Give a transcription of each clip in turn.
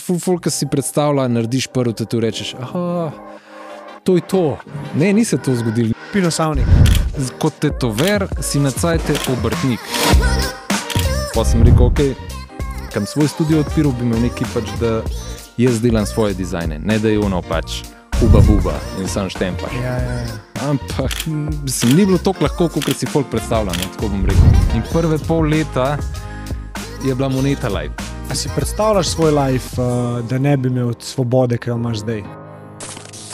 ful, ful, ki si predstavlja, narediš prvo, te tu rečeš, ah, to je to. Ne, ni se to zgodilo. Pino Savnik. Z- Kot tetover si na cajte obrtnik. Pa sem rekel, ok, kam svoj studio odpiral, bi imel neki pač, da jaz delam svoje dizajne, ne da je ono pač. Uba, buba in sam štempaš. Ja, ja, ja. Ampak mislim, ni bilo tako lahko, kot si folk predstavlja. no, Tako bom rekel. In prve pol leta je bila moneta live. A si predstavljaš svoj life, uh, da ne bi imel svobode, ki jo imaš zdaj?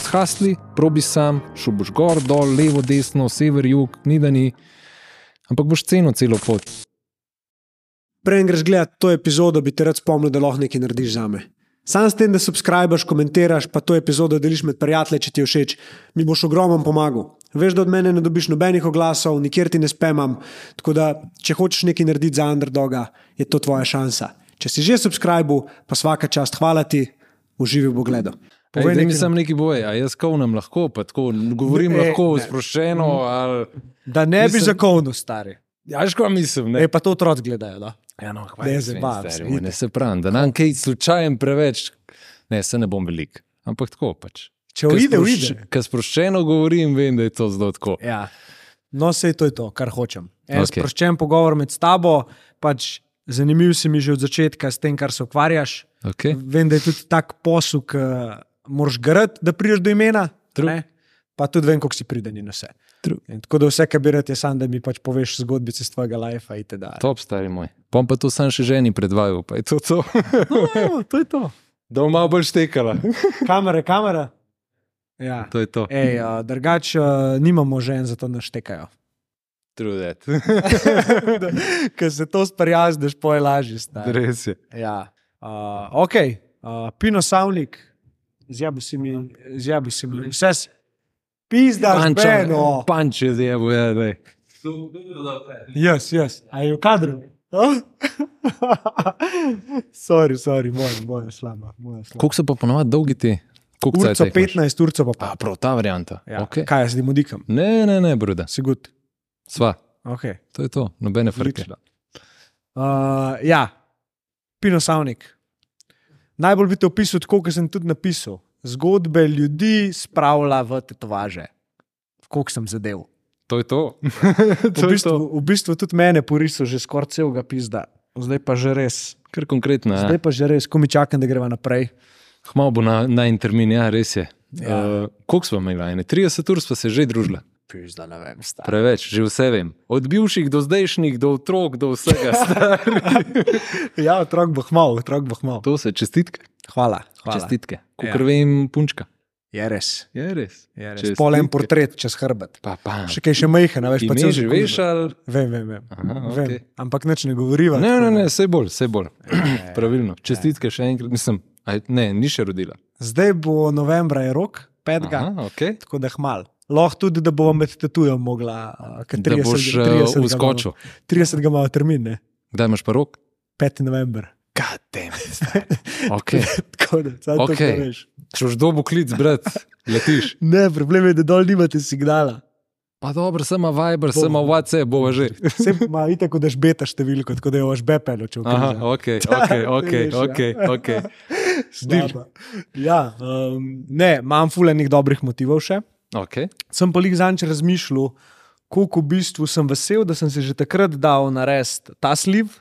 Shasli, probi sam, šel boš gor, dol, levo, desno, sever, jug, ni da ni, ampak boš ceno celo pot. Preden greš gledati to epizodo, bi te rad spomnil, da lahko nekaj narediš za me. Sam s tem, da subskrbiš, komentiraš, pa to epizodo deliš med prijatelji, če ti je všeč, mi boš ogromen pomagal. Veš, da od mene ne dobiš nobenih oglasov, nikjer ti ne spemam, tako da, če hočeš nekaj narediti za underdoga, je to tvoja šansa. Če si že subskrbil, pa vsaka čast hvala ti, uživi bo gledal. Povej mi samo neki boje, a jaz kovnem lahko, pa tako govorim Ne, ne, lahko ne. ne. sproščeno. Ali... Da ne bi Mislim- zakovno stari. Ja, škoda mislim, ne. Ne, pa to otroci gledajo. Da? Ja, no, Ne, ne, zabav se, stari, itak. moj, ne se pravim, da nam kaj slučajem preveč, ne, se ne bom velik, ampak tako pač. Če Ko uide, sprošč- uide. ko sproščeno govorim, vem, da je to zelo tako. Ja. No, sej to je to, kar hočem. En okay. Okej. sproščen pogovor med tabo, pač zanimiv si mi že od začetka s tem, kar se ukvarjaš. Okay. Vem, da je tudi tak posel, ki moraš grad, da prideš do imena. True. ne? Pa tudi vem, koliko si priden in vse. True. In tako da vse, kar bi rad, je sam, da mi pač poveš zgodbice iz tvojega lajfa. Top, stari moj. No, Pom pa to sam še ženi predvajal, pa je to to. To je to. da bo malo bolj štekala. Kamera, kamera. Ja. To je to. Ej, uh, drugače uh, nimamo žen, zato naštekajo. True that. Ker se to sprijazniš, poje lažje. stari. Res je. Ja. Uh, ok, uh, Pino Savnik, zjabi si mi, zjabi si mi, vse si. Pizda, Panča, žbeno. panč eh, je zjebo, ja, da je. Jaz, jaz. A je v kadru? Oh? sorry, sorry, moja, moja slaba. Moja slaba. Koliko so pa ponovadi dolgi ti? Koliko cajt Urco jih imaš? 15, urco pa A, pa. prav, ta varianta. Ja. Okay. Kaj jaz zdaj modikam? Ne, ne, ne, bruda. Sigut. Sva, Okay. to je to, nobene frke. Odlično. Uh, ja, Pino Savnik. Najbolj bi te opisal tako, kot sem tudi napisal. Zgodbe ljudi spravlja v tetovaže. Kolik sem zadev. To je to. V bistvu, v bistvu tudi mene porisal že skoraj celega pizda. Zdaj pa že res. Kar konkretno. Zdaj Ja. pa že res, ko mi čakam, da greva naprej. Hmal bo na, na en termin, ja, res je. Ja. Ja. Uh, koliko smo imeli? ene? 30 ur smo se že družili. Pizda, ne vem, stari. Preveč, že vse vem. Od bivših do zdajšnjih, do otrok, do vsega. stari. Ja, otrok bo hmal, otrok bo hmal. to se čestitke. Hvala, hvala. Čestitke. Ko Ja. krvim punčka. Je res. Je res. Je res. Čestitke. Pol en portret čez hrbet. Pa, pa. Še kaj še majhen, a veš, pa Ime že veš, ali? Vem, vem, vem. Aha, vem. okej. Ampak nič ne govoriva. Ne, tako ne, da- ne, vse bolj, vse bolj. Ja, Pravilno. Čestitke še enkrat, mislim, aj, ne, ni še rodila. Zdaj bo novembra je rok, petka, Aha, okay. tako da hmal. Lahko tudi, da bo med tetujem mogla, uh, ker Da 30, boš eh, 30 ga vskočil. imamo- 30. ga imamo termin, ne? Kdaj imaš pa rok? 5. november. Kadem. Okay. tako da, sad okay. to Okej. kar veš. Če boš dobil klic, brat, letiš. Ne, problem je, da dol nimate signala. Pa dobro, sem Viber, sem WhatsApp, bova že. Vse ima itak, da žbeta številko, tako da jo žbepelo, če Aha, ukvarjaš. ok, ok, ok, veš, ja. ok. okay. Stil. Slaba. Ja, um, ne, imam fulenih dobrih motivov še. okay. Sem pa jih zanj razmišljal, koliko v bistvu sem vesel, da sem se že takrat dal narediti ta sliv,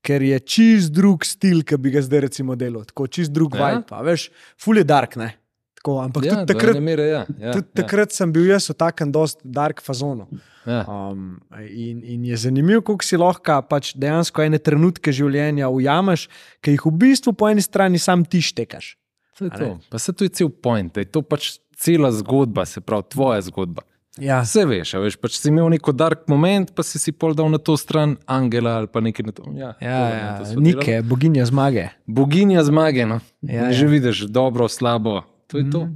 ker je čist drug stil, ki bi ga zdaj recimo delal, tako čist drug Ja. vibe. a Veš, ful je dark, ne. Tako, ampak ja, Ja, tudi takrat, Mere, ja, ja, tudi takrat sem bil jaz v takem dost dark fazonu. Ja, ja. Um, in, in je zanimivo, kako si lahko pač dejansko ene trenutke življenja ujameš, ki jih v bistvu po eni strani sam ti štekaš. To je A ne? to. Pa se to je cel point, da je to pač cela zgodba, se pravi tvoja zgodba. Ja, Vse veš, a veš, pač si imel neko dark moment, pa si si pol dal na to stran angela ali pa nekaj na to. Ja, dobro, ne, to sva delala. neke, boginja zmage. Boginja zmage, no. Ja, Ja, ja. Že vidiš, dobro, slabo. To je to.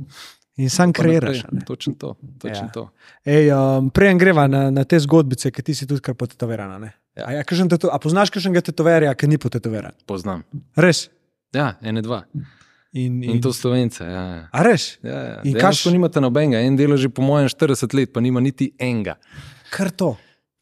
In sam Pa naprej. kreiraš. a ne. Točno to. Točno Ja. ja. to. Ej, um, Prej greva na, na te zgodbice, ki ti si tudi kar potetoverana. ne? Ja. A, ja, kakšen teto, a poznaš kakšnega tetoverja, ki ni potetoveran? Poznam. Res. Ja, ene, dva. In, In, in to slovence. Ja, ja. A res? Ja, ja. In Dejansko kaš- nimate nobenega, en dela že po mojem 40 let, pa nima niti enega. Kar to.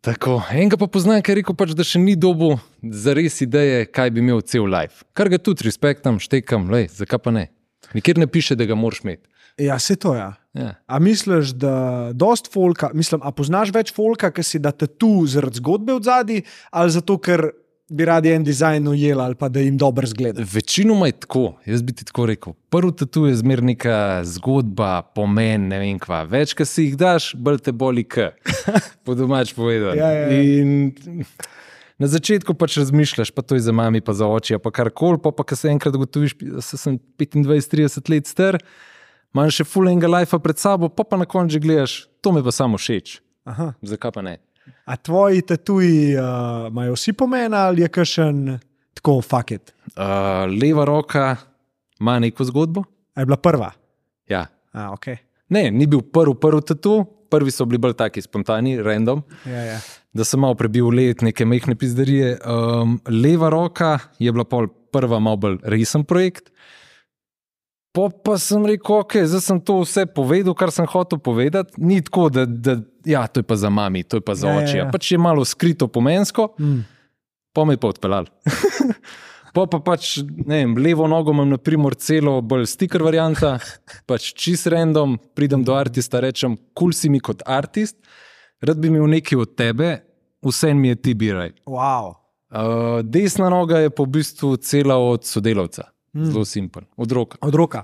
Tako, enega pa poznam, ker je rekel, pač, da še ni dobil za res ideje, kaj bi imel cel life. Kar ga tudi respektam, štekam, lej, zakaj pa ne. Nikjer ne piše, da ga moraš imeti. Ja, se to je. Ja. Ja. A misliš, da dost folka, mislim, a poznaš več folka, ki si da tatu zaradi zgodbe od zadaj, ali zato, ker bi radi en dizajn ujeli ali pa da jim dober zgled. Večinoma je tako, jaz bi ti tako rekel. Prvi tatu je zmer neka zgodba, pomen, ne vem kva. Več, ki si jih daš, bolj te boli, k. Po domač povedano. Ja, ja, ja. In na začetku pač razmišljaš, pa to je za mami, pa za oči, pa kar koli, pa pa, ko se enkrat ugotoviš, da se sem 25-30 let star, imaš še full enega life pred sabo, pa pa na koncu že gledaš, to me pa samo všeč. Aha. Zakaj pa ne? A tvoji tatuji uh, imajo vsi pomen ali je kakšen tako faket? Uh, leva roka ima neko zgodbo. Je bila prva. Ja, A, okay. Ne, ni bil prvi, prvi tatu, prvi so bili bolj taki spontani, random, ja, ja. da sem malo prebil let, neke mehke pizderije. Um, leva roka je bila pol prva, malo bolj resen projekt. Po pa sem rekel, ok, zdaj sem to vse povedal, kar sem hotel povedati. Ni tako, da, da ja, to je pa za mami, to je pa za Ja, ja, ja, oče. Ja, ja. ja. Mhm. Pač je malo skrito pomensko, Mm. pa me je pa odpeljal. Pa pa pač, ne vem, levo nogo imam, na primer, celo bolj stiker varianta, pač čist random, pridem do artista, rečem, kul cool si mi kot artist, rad bi imel nekaj od tebe, vse mi je ti biraj. Wow. Uh, desna noga je po bistvu cela od sodelavca, mm. zelo simpel, od roka. Od roka.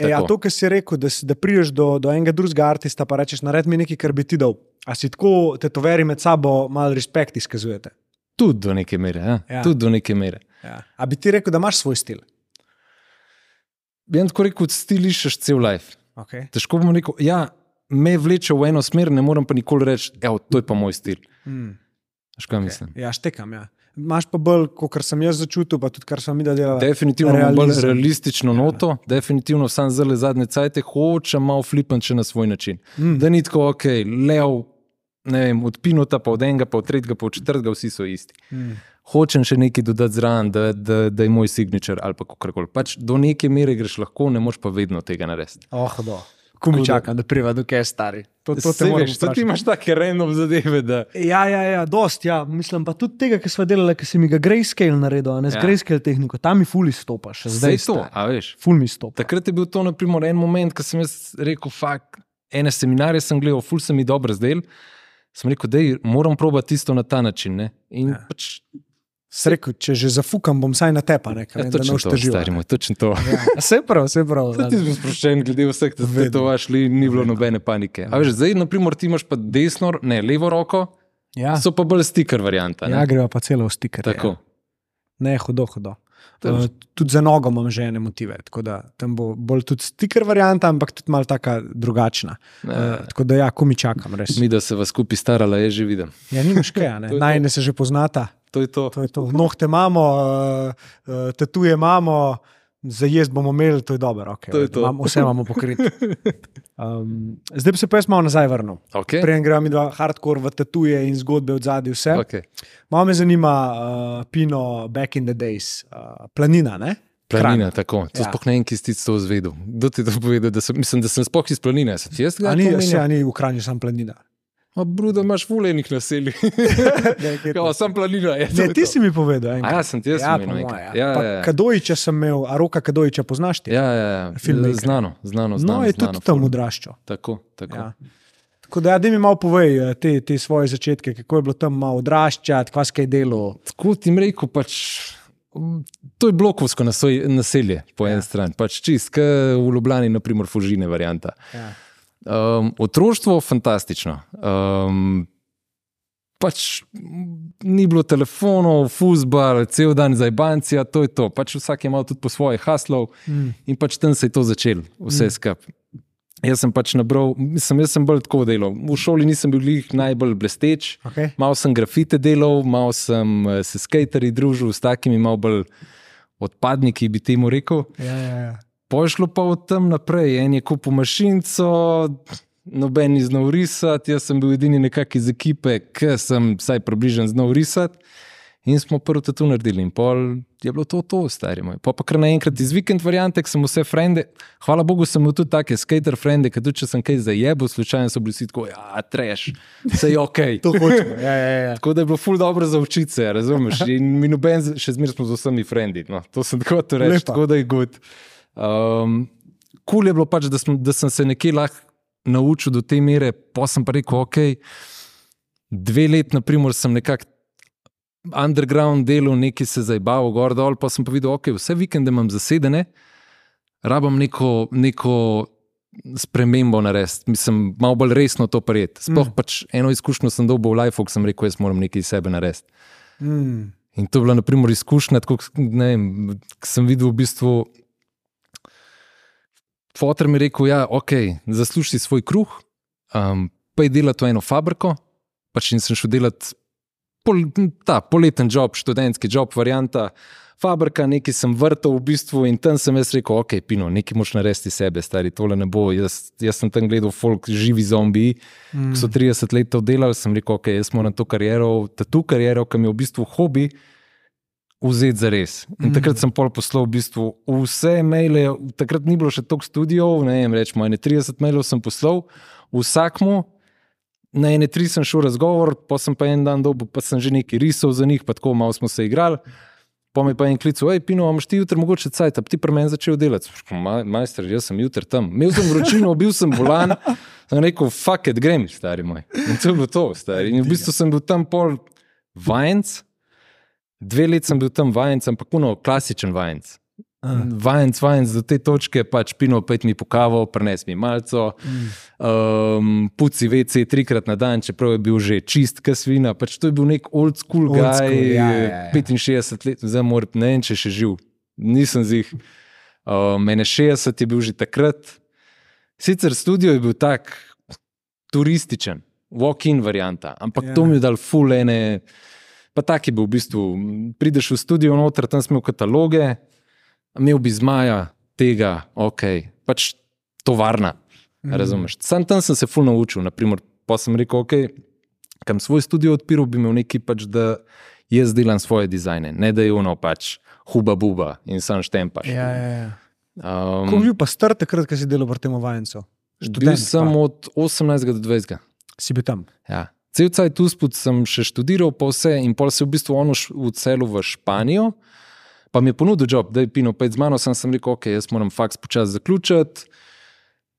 E, a Tako. to, kar si rekel, da, si, da priješ do, do enega drugega artista, pa rečeš, naredi mi nekaj, kar bi ti dal. A si tako tetoveri med sabo malo respekt izkazujete? Tudi do neke mere, ja. Ja. Ja. Tudi do neke mere. Ja. A bi ti rekel, da imaš svoj stil? Bi jaz tako rekel, stilišeš cel life. Okay. Težko bom rekel, ja, me vleče v eno smer, ne morem pa nikoli reči, evo, to je pa moj stil. Mm. Veš, kaj okay. mislim? Ja, štekam. Ja. Imáš pa bolj, kot sem jaz začutil, pa tudi kar sem videl, da je Definitivno imam bolj Realizem. realistično Ja. noto, definitivno sam zelo zadnje cajte hočem malo flipen, če na svoj način. Mm. Da ni tako, ok, lev, ne vem, od pinota, pa od enega, pa od tretjega, pa od četrtega, vsi so isti. Mm. Hočem še nekaj dodati zraven, da, da, da je moj signature ali pa kako koli. Pač do neke mere greš lahko, ne moš pa vedno tega narediti. Oh, do. Kumi Hudo. čakam, da priva, dokaj je stari. To, to te Saj moraš veš, saj ti imaš take random zadeve, da Ja, ja, ja, dost, ja. Mislim pa tudi tega, ki smo delali, ki si mi ga grayscale naredil, a ne z Ja. ja. grayscale tehniko, tam mi fuli stopa, še zdaj zdaj je to, stari. a veš. Ful mi stopa. Takrat je bil to naprimer, en moment, ko sem jaz rekel, fakt, ene seminarje sem gledal, ful sem jih dobro zdel. Sem rekel, da moram probati isto na ta način. Ne? In ja. pač, Srekel, če že zafukam, bom saj na tepa, ne, ja, kaj, da ne točno boš to, stari težil. moj, točno to. Ja, se prav, se prav. Tudi jaz sem sproščen, glede vseh Vedno. tetovaž, li ni bilo nobene panike. A veš, zdaj, naprimer, ti imaš pa desno, ne levo roko, Ja, so pa bolj stiker varianta. ja ne. greva pa celo v stiker. Tako. Ne, hudo, hudo. To je- Uh, tudi za nogo imam že ene motive, tako da tam bo bolj tudi stiker varianta, ampak tudi malo taka drugačna. Ja. Uh, tako da ja, ko mi čakam, res. Mi, da se vas skupaj starala, je že vidim. Ja, nimaš kaj, a ne? To je to. najne se že poznata. To je to. To je to. Nohte imamo, uh, uh, tatuje imamo, za jez bomo imeli, to je dobro. Okay, To je to. Imam, vse imamo pokrito. Um, zdaj bi se pa jaz malo nazaj vrnil. Okay? Prej gremo mi dva hardcore v tatuje in zgodbe od zadaj, vse. Okay. Malo me zanima, uh, Pino, back in the days, uh, planina. Ne? Planina, tako. To Ja. ja. sploh ne vem, ki si to izvedel. Kdo ti je to povedal? Da sem, mislim, da sem sploh iz planine. Sem ti jaz Kran. A gledal? ni, se, a Ja, ni v Kranju, sam planina. Ma, brudo, imaš vulenih naselij. Ne, kaj Ja, to? Kao, sem planina. Je, to Ne, je ti Ja, to. si mi povedal. A ja, sem ti jaz ja, omenil po enkrat. moje, Ja, Pa ja, ja. Kadojiča sem imel, a roka Kadojiča poznaš ti? Ja, ja, Filmmaker. ja. Znano, znano, znano. no, je znano, tudi tam ful. odraščal. Tako, tako. Ja. Ja. Tako da, ja, da mi malo povej eh, te, te svoje začetke, kako je bilo tam malo odraščati, kva si kaj delo. Tako ti rekel, pač, m, to je blokovsko nasoj- naselje po ja. eni strani, pač čist, kot v Ljubljani, naprimer, Fužine varianta. Ja. Um, otroštvo fantastično. Um, pač m, ni bilo telefonov, fusbal, cel dan za banci, to je to. Pač vsak je imel tudi po svoje haslov Mm. in pač tam se je to začelo, vse mm. skupaj. Jaz sem pač nabral, mislim, jaz sem bolj tako delal. V šoli nisem bil glih najbolj blesteč, Okay. Mal sem grafite delal, mal sem eh, se skaterji družil s takimi malo bolj odpadniki, bi temu rekel. Ja, ja, ja. Pošlo pa od tam naprej, en je kupil mašinco, noben ni znal risati, jaz sem bil edini nekak iz ekipe, ki sem vsaj približen znal risati. In smo prvo tatu naredili, in pol je bilo to, to stari moj. Pa, pa kar naenkrat iz vikend variante, ker sem vse frende, hvala Bogu, sem imel tudi take skater frende, ker tudi če sem kaj zajebo, slučajno so bili vsi tako, ja, treš, vse je ok. To hočemo. Ja, ja, ja. Tako da je bilo ful dobro za učiti se, razumeš? In mi noben, z- še zmeraj smo z vsemi frendi. No. To sem tako hotel reči, Lepa. tako da je gud. Um, Kul cool je bilo pač, da, sem, da sem se nekje lahko naučil do te mere, pa sem pa rekel, ok, dve leti, naprimer, sem nekako underground delal, nekaj se zabaval, gor dol, pa sem pa videl, ok, vse vikende imam zasedene, rabim neko, neko spremembo narediti, mislim, malo bolj resno to prijeti. Sploh mm. pač eno izkušnjo sem dobil v Life, ko sem rekel, jaz moram nekaj iz sebe narediti. Mm. In to je bila, na primer, izkušnja, tako kot sem videl v bistvu. Fotor mi je rekel, da ja, okay, zasluži si svoj kruh, um, pa je delal to eno fabriko, pač in sem šel delati pol, ta poleten job, študentski job, varianta. Fabrika, nekaj sem vrtel v bistvu in tam sem jaz rekel, ok, pino, nekaj moš narediti iz sebe, stari, tole ne bo. Jaz, jaz sem tam gledal folk, živi zombiji, mm. ki so 30 let to delali, sem rekel, ok, jaz moram to kariero, tatu kariero, ki mi je v bistvu hobi, vzeti za res. In takrat sem pol poslal v bistvu vse maile, takrat ni bilo še toliko studijev, ne vem, rečemo, ene 30 mailov sem poslal, vsakmu. Na ene tri sem šel razgovor, pa sem pa en dan dobil, pa sem že nekaj risov za njih, pa tako malo smo se igrali. Pa mi je pa en klic, hej, Pino, imaš ti jutri mogoče cajt, a bi ti pri meni začel delati. Sem rekel, "Ma- Majster, jaz sem jutri tam. Imel sem vročino, bil sem bolan, sem rekel, fuck it, grem, stari moj. In to je bilo to, stari. In v bistvu sem bil tam pol vajenc, dve leti sem bil tam vajenc, ampak uno, klasičen vajenc. Vajenc, vajenc do te točke, pač pino, pet mi pokavo, prenes mi malco, mm. um, puci vece trikrat na dan, čeprav je bil že čist, kasvina. Pač to je bil nek old school Old school, guy, ja, ja, ja. 65 let, zdaj moram, ne vem, če še živ, nisem zih. Uh, mene 60 je bil že takrat. Sicer studio je bil tak turističen, walk-in varianta, ampak Ja. yeah. to mi je dal fulene. Pa tak je bil v bistvu. Prideš v studio noter, tam smo imeli kataloge, imel bi zmaja tega, ok, pač tovarna. Mm. Razumeš? Sam tam sem se ful naučil, naprimer, pa sem rekel, ok, kam svoj studio odpiral, bi imel neki pač, da jaz delam svoje dizajne, ne da je ono pač huba buba in sam štempaš. Ja, ja, ja. Um, Kako je bil pa star takrat, ko si delal pri tem vajencu? bil študent, sem pa? od 18 do 20. Si bil tam. Ja. Cel cel tu spod sem še študiral, pa vse, in pol se je v bistvu ono š- odselil v Španijo. Pa mi je ponudil job, da je pino, pa je z mano, sem, sem rekel, ok, jaz moram faks počasi zaključiti.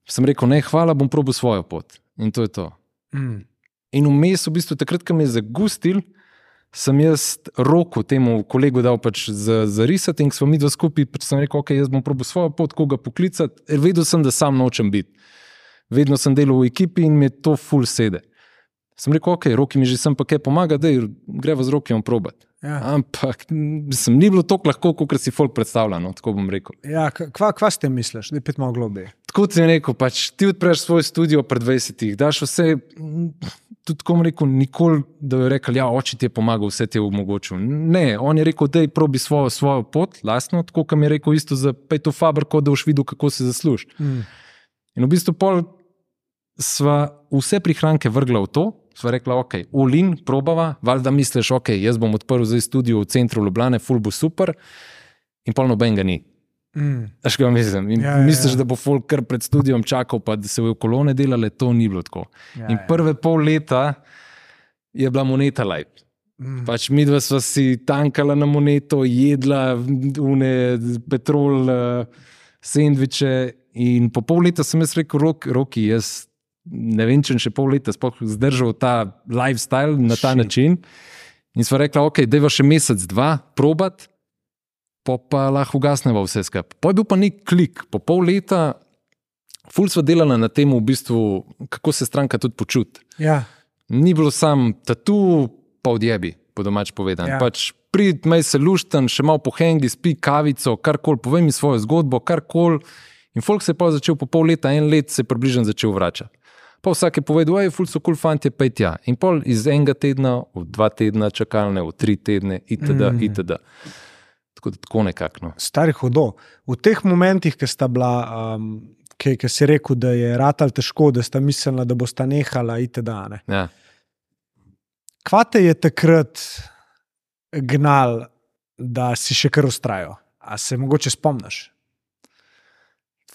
Sem rekel, ne, hvala, bom probil svojo pot. In to je to. Mm. In vmes, v bistvu, takrat, ko me je zagustil, sem jaz roko temu kolegu dal pač za, za risati in ko smo mi dva skupaj, pač sem rekel, ok, jaz bom probil svojo pot, koga poklicati. Ker vedel sem, da sam nočem biti. Vedno sem delal v ekipi in mi je to full sede. Sem rekel, ok, roki mi že sem pa kaj pomaga, da greva z roki on probat. Ja. Ampak sem ni bilo tako lahko, kot si folk predstavlja, no, tako bom rekel. Ja, k- kva, kva s tem misliš, da je pet malo globije? Tako ti je rekel, pač, ti odpreš svoj studio pred 20, daš vse. m, Tudi komu rekel, nikoli, da je rekel, ja, oče ti je pomagal, vse ti je omogočil. Ne, on je rekel, da je probi svojo, svojo pot, lastno, tako kot mi je rekel, isto za peto fabriko, da boš videl, kako se zasluži. Mm. In v bistvu pol sva vse prihranke vrgla v to, sva rekla, ok, ulin, probava, valjda misliš, ok, jaz bom odprl zdaj studio v centru Ljubljane, ful bo super, in pol noben ga ni. Mm. Veš, kaj mislim? In Ja, ja, ja, misliš, ja. ja. da bo folk kar pred studiom čakal, pa da se bojo kolone delale, to ni bilo tako. Ja, Ja, in ja. prve pol leta je bila moneta live. Mm. Pač mi dva sva si tankala na moneto, jedla une petrol, eh, sendviče. In po pol leta sem jaz rekel, rok, roki, jaz ne vem, če bom še pol leta sploh zdržal ta lifestyle na ta Shit. Shit. način. In sva rekla, ok, da je še mesec, dva, probat, pa pa lahko ugasnemo vse skupaj. Pa je bil pa nek klik, po pol leta, ful sva delala na tem, v bistvu, kako se stranka tudi počuti Ja. ni bilo sam tatu, pa odjebi, po domač povedan. Ja. Ja. Pač prid, mej se lušten, še malo pohengi, spi kavico, karkoli, povej mi svojo zgodbo, karkoli. In folk se je pa začel po pol leta, en let se je približno začel vračati. Pa vsak je povedal, hej, ful so kul cool fanti, pa je tja. In pol iz enega tedna, v dva tedna čakalne, v tri tedne, itd. Mm. itd. Tako da tako nekako. No. Stari hodo. V teh momentih, ki sta bila, um, ki, ki si rekel, da je ratal težko, da sta mislila, da bosta nehala, itd. Ne? Ja. Kva te je takrat gnal, da si še kar ustrajo. A se mogoče spomniš?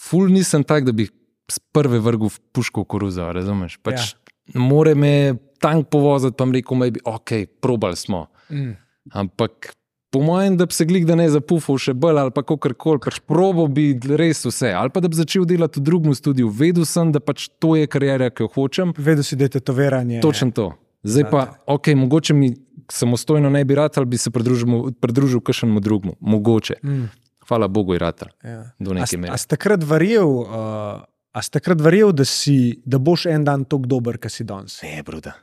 Ful nisem tak, da bi z prve vrgel v puško koruza, razumeš? Pač ja. More me tank povoziti, pa mi rekel, maybe, ok, probal smo. Mm. Ampak po mojem, da bi se glik, da ne zapufal še bolj ali kako koli, pač probo bi res vse. Ali pa da bi začel delati v drugem studiu. Vedel sem, da pač to je karjera, ki jo hočem. Vedel si, da je tetoviranje. Točno to. Zdaj pa, ok, mogoče mi samostojno ne bi rad ali bi se pridružil, pridružil kakšnemu drugemu. Mogoče. Mm. Hvala Bogu, je rad. Ja. Do A, neke st- mere. a si takrat verjel, uh, a si takrat verjel da, si, da boš en dan tako dober, kot si danes? Ne, bruda.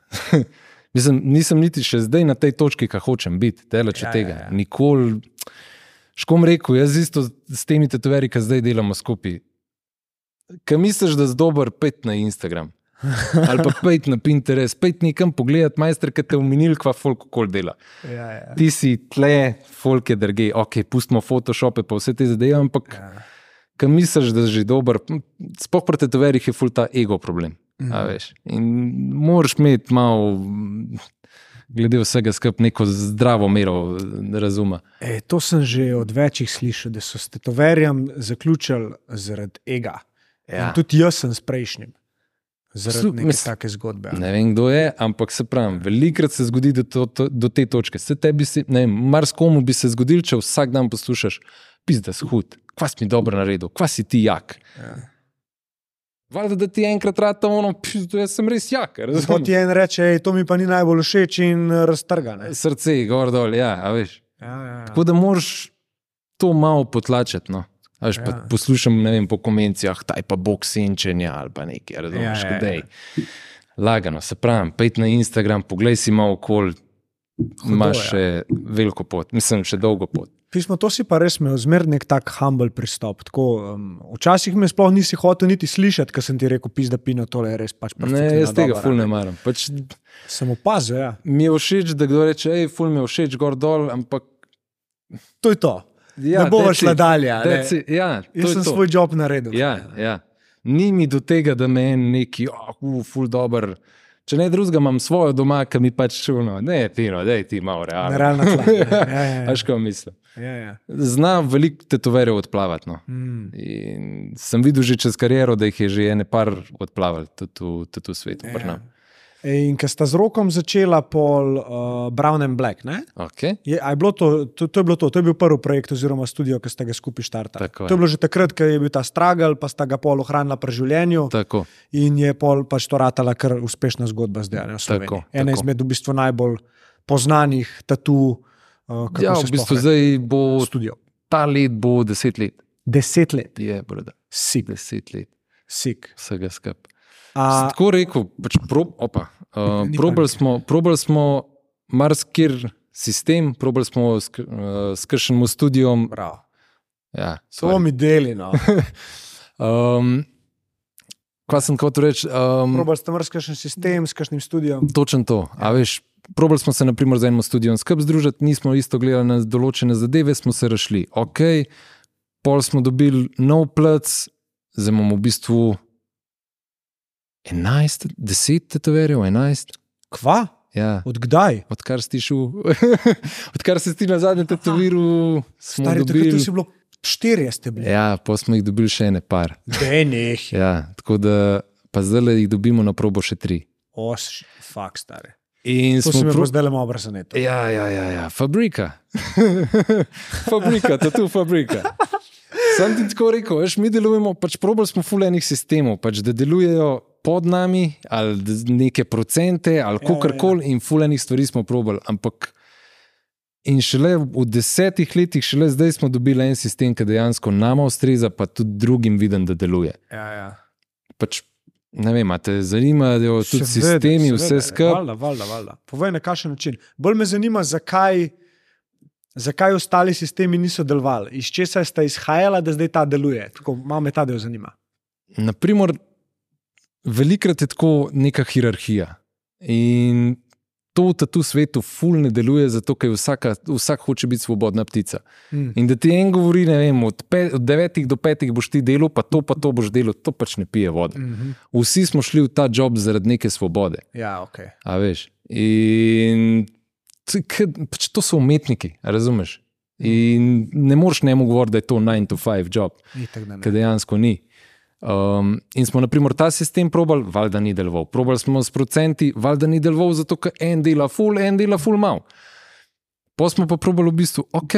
Mislim, nisem niti še zdaj na tej točki, kaj hočem biti, delač Ja, ja, tega. ja, Ja, ja. ja. Nikoli, škom rekel, jaz isto s temi tetoverji, ki zdaj delamo skupaj. Kaj misliš, da si dober, pet na Instagram ali pa pet na Pinterest, pet nekam pogledati, majster, ki te je omenil, kva folk kol dela. Ja, ja. Ti si tle, folk je drge, ok, pustimo Photoshope pa vse te zadeve, ampak ja. kaj misliš, da si že dober, spoh pri tetoverjih je ful ta ego problem. A veš. In moraš imeti malo, mm, glede vsega skupaj, neko zdravo mero eh, razuma. E, to sem že od večjih slišal, da so s tetoverjem zaključili zaradi ega. Ja. In Tudi jaz sem s prejšnjim. Zaradi Slu- Slu, neke mislim- take zgodbe. a. Ne vem, kdo je, ampak se pravi, velikrat se zgodi do, to, to, do te točke. Se tebi, se, ne vem, marsikomu bi se zgodil, če vsak dan poslušaš, pizda si hud, kva si mi dobro naredil, kva si ti jak. Ja. Valjda, da ti enkrat rata ono, pizda, jaz sem res jak, Zato ti razumeti. en reče, "Ej, to mi pa ni najbolj všeč in eh, raztrga. ne." Srce je gor dol, ja, a veš. Ja, ja, ja. Tako da moraš to malo potlačati. No. A Veš, Ja. ja. Poslušam ne vem, po konvencijah, taj pa bog senčenja ali pa nekaj, razumeš, Ja, ja, ja, ja. ja, ja. Lagano, se pravi, pojdi na Instagram, poglej si malo okol, ja. imaš še ja. veliko pot, mislim, še dolgo pot. Pismo, to si pa res imel, zmeraj nek tak humble pristop. Tako, um, včasih me sploh nisi hotel niti slišati, ker sem ti rekel, pizda pino, tole je res pač perfektna Ne, jaz tega dobra, ful ne. ne maram. Pač, Sem opazil, ja. mi je všeč, da kdo reče, hej, ful mi je všeč, gor dol, ampak. To je to. Ja, ne bova that's šla it. dalje. a ne. That's it, Ja, to Jaz je sem to. svoj job naredil. Ja, ja. Ni mi do tega, da me en neki, oh, uh, ful dober. Če ne drugega, imam svojo doma, ki mi pač čuno, ne, pino, da je ti malo realno. Na realno tla, ja, ja, ja. Aš kaj mislim. Ja, ja. Zna veliko tetoverjev odplavati. No. Mm. In sem videl že čez kariero, da jih je že ene par odplavali tudi v- tudi v svetu. Ja. Ej, In ker sta z rokom začela pol uh, Brown and Black, ne? Okay. Je, a je bilo to, to, to je bilo to, to je bil prvi projekt oziroma studio, ki ste ga skupaj štartali. Tako je. To je bilo že takrat, ko je bil ta stragal, pa sta ga pol ohranila pri življenju. Tako. in je pol pač to ratala kar uspešna zgodba zdaj. a Ne, v Sloveniji. Tako, Ena tako. izmed v bistvu najbolj poznanih tatu, uh, kako Ja, se v bistvu sploh reče? zdaj bo studio. ta let, bo deset let, Deset let, je brda, sik, deset let sik. vsega skupaj. Sem A, Tako rekel, pač prob, opa, uh, Ni probali panike. smo, probal smo marsikir sistem, probali smo s, k- uh, s kršenim studiom. Bravo. Ja, To sorry. mi deli, no. um, kaj sem hotel reči? Um, Probal ste mrzkaš sistem, s kakšnim studiom. Točno to. A Ja. veš, probali smo se naprimer z enim studiom skupaj združiti, nismo isto gledali na določene zadeve, smo se rašli. Ok, pol smo dobili nov plac, zdaj imamo v bistvu 11, 10 tetoverjev, 11. Kva? Ja. Odkdaj? Odkar si šel, odkar si ti na zadnjem tetoviru, smo Stari, takrat dobili. si bilo štirje ste bili. Ja, pa smo jih dobili še ene par. Denih. Ja, tako da pa zdaj le jih dobimo na probo še tri. Oš, fakt, stari. In To si smo mi pro... bo zdaj le malo brzaneto. Ja, ja, ja, ja, fabrika. fabrika, to je tu fabrika. Sam ti tako rekel, veš, mi delujemo, pač probali smo fulejnih sistemov, pač, da delujejo pod nami, ali da z- neke procente, ali Ja, ja, ja. kako koli, in fulejnih stvari smo probali. Ampak in šele v desetih letih, šele zdaj smo dobili en sistem, ki dejansko nama ustreza, pa tudi drugim vidim, da deluje. Ja, ja. Pač, ne vem, a te zanimajo tudi Seveda, sistemi, seveda, vse skupaj. Valjda, valjda, valjda. Povej na kakšen način. Bolj me zanima, zakaj, zakaj ostali sistemi niso delovali, iz česa sta izhajala, da zdaj ta deluje. Tako malo me ta del zanima. Naprimer, velikrat je tako neka hierarhija. In to v tatu svetu ful ne deluje, zato ker je vsaka, vsak hoče biti svobodna ptica. Mm. In da ti en govori, ne vem, od, pe, od devetih do petih boš ti delal, pa to pa to boš delal, to pač ne pije vode. Mm -hmm. Vsi smo šli v ta job zaradi neke svobode, Ja, ok. a veš. In c- k- pač to so umetniki, a razumeš? In ne moreš ne mu govoriti, da je to 9-to-5 job, Itak, da ne. ki dejansko ni. Um, in smo, na primer, ta sistem probali, valjda ni deloval. Probali smo s procenti, valjda ni deloval, zato ker en dela full, en dela full mal. Pa smo pa probali v bistvu, ok,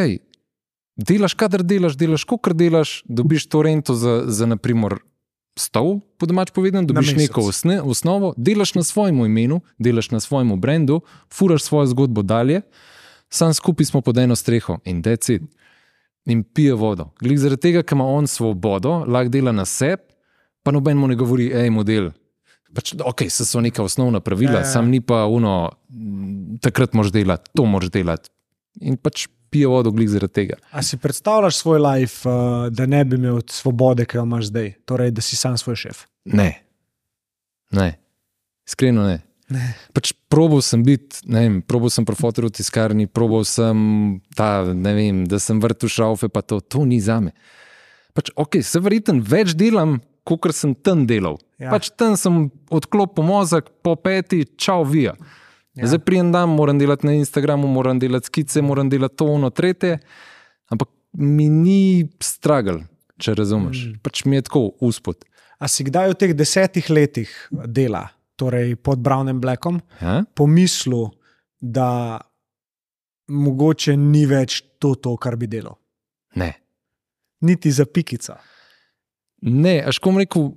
delaš, kadar delaš, delaš, kot delaš, dobiš to rento za, za naprimer, stol, po domač povedano, dobiš mesec. neko osne, osnovo, delaš na svojem imenu, delaš na svojem brendu, furaš svojo zgodbo dalje, sam skupaj smo pod eno streho in decid. In pije vodo. Glede zaradi tega, ker ima on svobodo, lahko dela na sebi, pa noben mu ne govori, hej, model. Pač, ok, so, so neka osnovna pravila, ja, Ja, ja. ja. sam ni pa uno, m, takrat moraš delati, to moraš delati. In pač pije vodo, glede zaradi tega. A si predstavljaš svoj life, uh, da ne bi imel svobode, ki jo imaš zdaj, torej da si sam svoj šef? Ne. ne. Iskreno ne. ne. Pač probal sem biti, ne vem, probal sem profotor v tiskarni, probal sem ta, ne vem, da sem vrtel šaufe, pa to, to ni za me. Pač, ok, se verjeten več delam, kot sem tam delal. Ja. Ja. Pač tam sem odklopil mozak, po peti, čau, vija. Ja. Ja. Zdaj prijem dan, moram delati na Instagramu, moram delati skice, moram delati to, ono, tretje. Ampak mi ni stragal, če razumeš. Mm. Pač mi je tako uspod. A si kdaj v teh desetih letih dela, torej pod Brownem Blackom, Ja? pomislil, da mogoče ni več to, to kar bi delal? Ne. Niti za pikica. Ne, až kom rekel,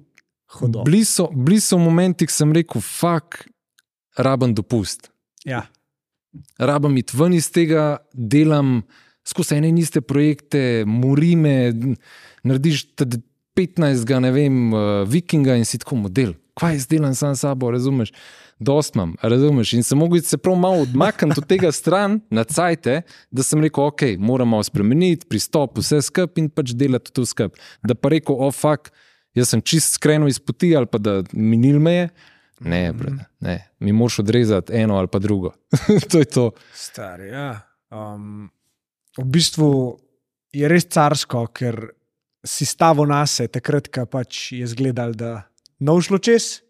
Hudo. bili so, bili so momenti, ko sem rekel, fuk, raben dopust. Ja, Rabam iti ven iz tega, delam skozi ene in iste projekte, morime, narediš tad 15, ne vem, eh, vikinga in si tako model. Kaj jaz delam sam s sabo, razumeš? Dost imam, a razumeš. In sem mogel iti se prav malo odmakniti od tega stran, na cajte, da sem rekel, ok, moramo malo spremeniti pristop, vse skupaj in pač delati to skupaj. Da pa rekel, oh, fuck, jaz sem čist skrenil iz poti ali pa da minil me je. Ne, brada, ne, mi moraš odrezati eno ali pa drugo. to je to. star. Ja. Um, v bistvu je res carsko, ker si stavo nase, takrat, ko pač je zgledal, da nov šlo čez.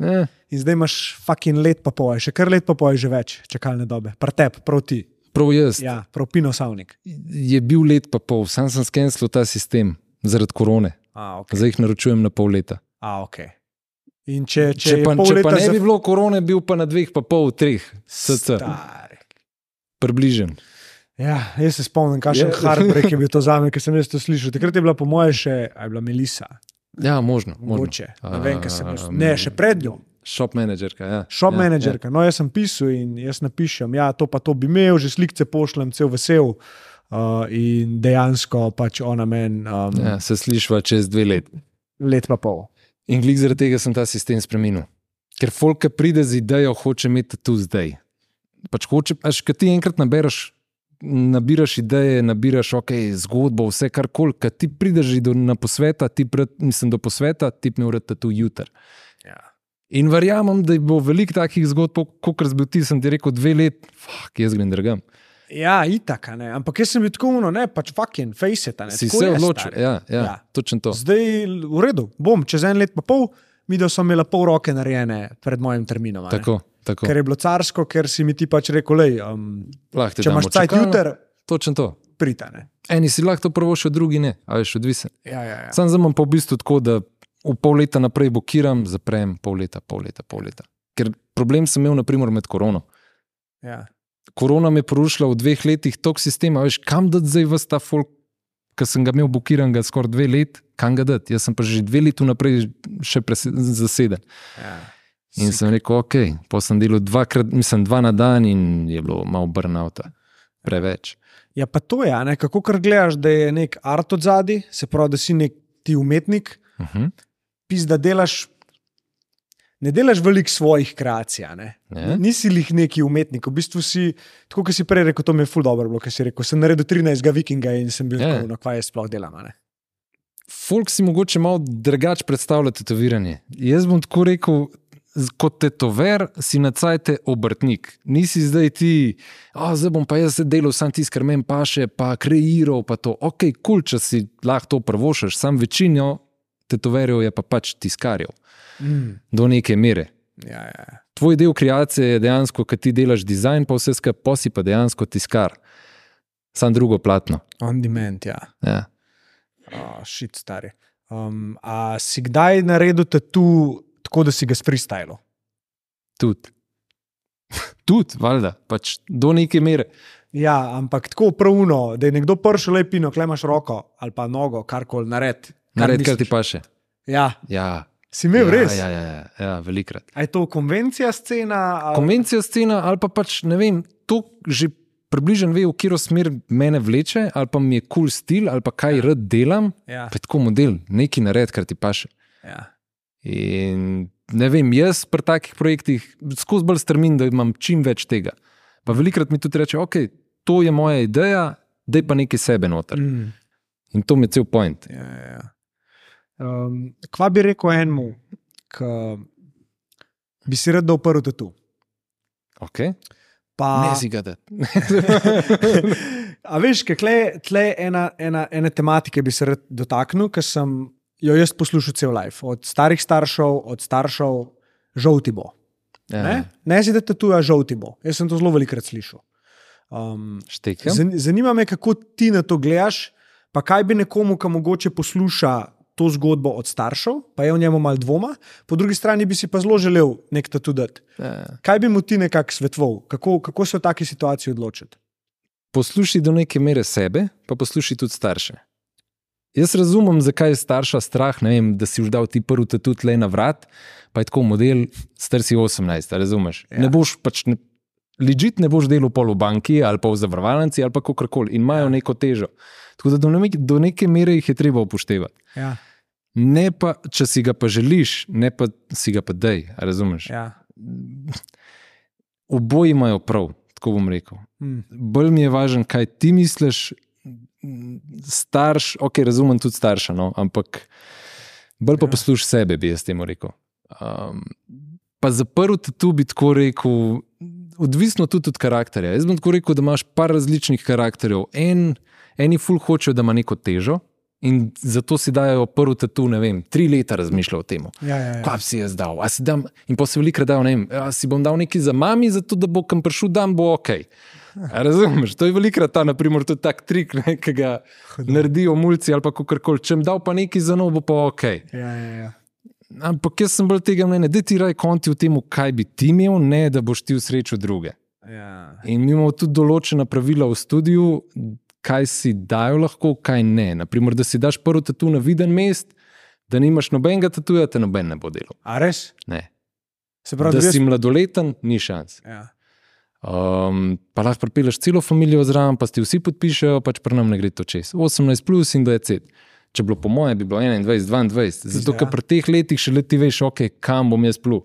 Ne. In zdaj imaš fucking let pa pol, še kar let pa pol, že več čakalne dobe, pretep, proti, Prav jaz ja. ja, propino savnik. je bil let pa pol, sam sem skenil ta sistem zaradi korone, A, ok. zdaj jih naročujem na pol leta. A, okay. In če, če, Če, je pa, pol če pa leta ne za- bi bilo korone, bil pa na dveh, pa pol, treh, cc, Stari. približen. Ja, jaz se spomnim, kakšen Je. yeah. hardbreak je bil to za me, ker sem jaz to slišal. Takrat je bila, po mojem, še a je bila Melisa, Ja, možno. možno. mogoče. Ne, vem, ker sem jaz, Um, ne, še pred njo. Shop menedžerka. Ja. Shop ja, ja, menedžerka. Ja. No, jaz sem pisal in jaz napišem, ja, to pa to bi imel, že slike pošljem, cel vesel. Uh, in dejansko pač ona meni Ja. um, ja. Ja, se slišva čez dve leti. let pa pol. In glej, zaradi tega sem ta sistem spremenil. Ker folk, ki pride z idejo, hoče imeti tu zdaj. Pač hoče, až kaj ti enkrat nabereš, nabiraš ideje, nabiraš okay, zgodbo, vse kar koli. Kaj ti prideš že do, na posveta, ti pred, mislim, do posveta, ti mi urete tu jutr. Ja. In verjamem, da bo veliko takih zgodb, kot sem bil ti, sem ti rekel, dve leti, fuck, jaz grem drgam. Ja, itak, a ne. ampak jaz sem bil tako uno, ne, pač fucking face it. a Ne, Si tako se je, odločil, stari. ja, ja, Ja. ja. točno to. Zdaj v redu, bom čez en let pa pol, mi da so imela pol roke narejene pred mojim terminom. a ne. Tako, tako. Ker je bilo carsko, ker si mi ti pač rekel, lej, um, Lahko ti če damo imaš no." cajt čakalno. juter, Točno to. pritane. Eni si lahko to prvošil, drugi ne, a veš, odvisen. Ja, ja, ja. Sam zdaj imam pa v bistvu tako, da v pol leta naprej blokiram, zaprem pol leta, pol leta, pol leta. Ker problem sem imel naprimer med korono. ja. Korona me je porušila v dveh letih tok sistema, veš, kam da zdaj vse ta folk, ki sem ga imel blokiran, ga skoraj dve leti, kam ga da. Jaz sem pa že dve leti naprej še prese- zaseden. ja. In sem rekel, ok, pa sem delal dvakrat, mislim, dva na dan in je bilo malo burnouta, preveč. Ja, pa to je, a ne, kako kar gledaš, da je nek art od zadaj, se pravi, da si nek ti umetnik, Uh -huh. pis da delaš. Ne delaš veliko svojih kreacij, a ne? Ne. nisi jih neki umetnik. V bistvu si, tako kot si prej rekel, to mi je ful dobro bilo, ker si rekel, sem naredil 13 vikinga in sem bil Ja. tako, no, kaj jaz sploh delam. a ne." Folk si mogoče malo drugače predstavlja tetoviranje. Jaz bom tako rekel. z- Kot tetover si na cajte obrtnik. Nisi zdaj ti, oh, zdaj bom pa jaz delal sam tisti, kar meni paše, pa kreiral, pa to. Ok, kul, cool, če si lahko to prvošaš, sam večino tetoverjev je pa pač tiskarjev Mm. do neke mere. Ja, ja. ja. Tvoj del kreacije je dejansko, ko ti delaš dizajn, pa vse skupaj posi pa dejansko tiskar. Sam drugo platno. On demand, ja. Ja. Oh, šit, stari. Um, a si kdaj naredil tatu tako, da si ga freestyle? Tudi. Tudi, valjda, pač do neke mere. Ja, ampak tako pravno, da je nekdo pršel lepino, klemaš roko ali pa nogo, karkoli naredi. Kar Naredi, kar ti misliš. paše. Ja, Ja, si imel ja, ja, res. Ja, Ja, ja. ja, ja, ja velikrat. Je to konvencija scena? Ali... Konvencija scena ali pa pač ne vem, to že približno ve, v katero smer mene vleče, ali pa mi je kul cool stil, ali pa kaj rad delam. ja, Pa je tako model, neki nared, kar ti paše. ja. In ne vem, jaz pri takih projektih skozi bolj strmim, da imam čim več tega. Pa velikrat mi tudi reče, ok, to je moja ideja, da je pa nekaj sebe noter. Mm. In to mi je cel point. Ja, ja, ja. Um, kva bi rekel enemu, ki bi si rad dal prvi tatu? Okay. Pa... Ne si ga da. A veš, kaj tle, tle ena, ena, ene tematike bi se rad dotaknil, ker sem jo jaz poslušal cel life, od starih staršev, od staršev, žolti bo. Ne, Ja, ne si da tatuja, žolti bo. Jaz sem to zelo velikrat slišal. Um, Štekam. zan- zanima me, kako ti na to gledaš, pa kaj bi nekomu, ki mogoče posluša to zgodbo od staršev, pa je v njemu malo dvoma, po drugi strani bi si pa zelo želel nek tatu dati. Ja. Kaj bi mu ti nekako svetoval, kako, kako se v taki situaciji odločiti? poslušaj do neke mere sebe, pa poslušaj tudi starše. Jaz razumem, zakaj je starša strah, ne vem, da si už dal ti prvi tatut le na vrat, pa je tako model, star si 18, a razumeš. Ja. Ja. Ne boš pač. Ne, Ležit ne boš delal pol v banki ali pa v zavarovalnici ali pa kakorkoli in imajo neko težo. Tako da do neke, do neke mere jih je treba upoštevati. Ja, Ne pa, če si ga pa želiš, ne pa si ga pa dej, a razumeš. Ja. ja. Oboji imajo prav, tako bom rekel. Mm. bolj mi je važno, kaj ti misliš. Starš, ok, razumem tudi starša, no, ampak bolj pa Ja. poslušaj sebe, bi jaz temu rekel. Um, pa za prvo tu bi tako rekel, odvisno tudi od karakterja. Jaz bom tako rekel, da imaš par različnih karakterjev. En, eni ful hočejo, da ima neko težo. In zato si dajo prvo tatu, ne vem, tri leta razmišljajo o tem. Ja, ja, ja. Kaj bi si jaz dal, a si dam, in pa se velikrat dal, ne vem, a si bom dal nekaj za mami, zato da bo kam prišel dan, bo ok. A Razumeš, to je velikrat ta, naprimer, tudi tak trik, ne, ki ga naredijo mulci ali kako koli. Če jim dal pa nekaj za novo, bo pa ok. Ja, ja, ja. Ampak jaz sem bolj tega mnenja, da ti raj konti v tem, kaj bi ti imel, ne da boš ti v srečo druge. Ja. In mi imamo tudi določena pravila v studiu, kaj si dajo lahko, kaj ne. Naprimer, da si daš prvo tatu na viden mest, da nimaš nobenega tatuja, te noben ne bo delal. A res? Ne. Se Prav, pravi, da jaz- si mladoleten, ni šans. Ja. Um, pa lahko pripeleš celo družino zraven, pa ti vsi podpišejo, pač pri nam ne gre to čez. 18 plus in da je cet. Če bilo po moje, bi bilo 21, 22. Zato, Pizda, ker ja. pri teh letih še leti veš, ok, kam bom jaz plul.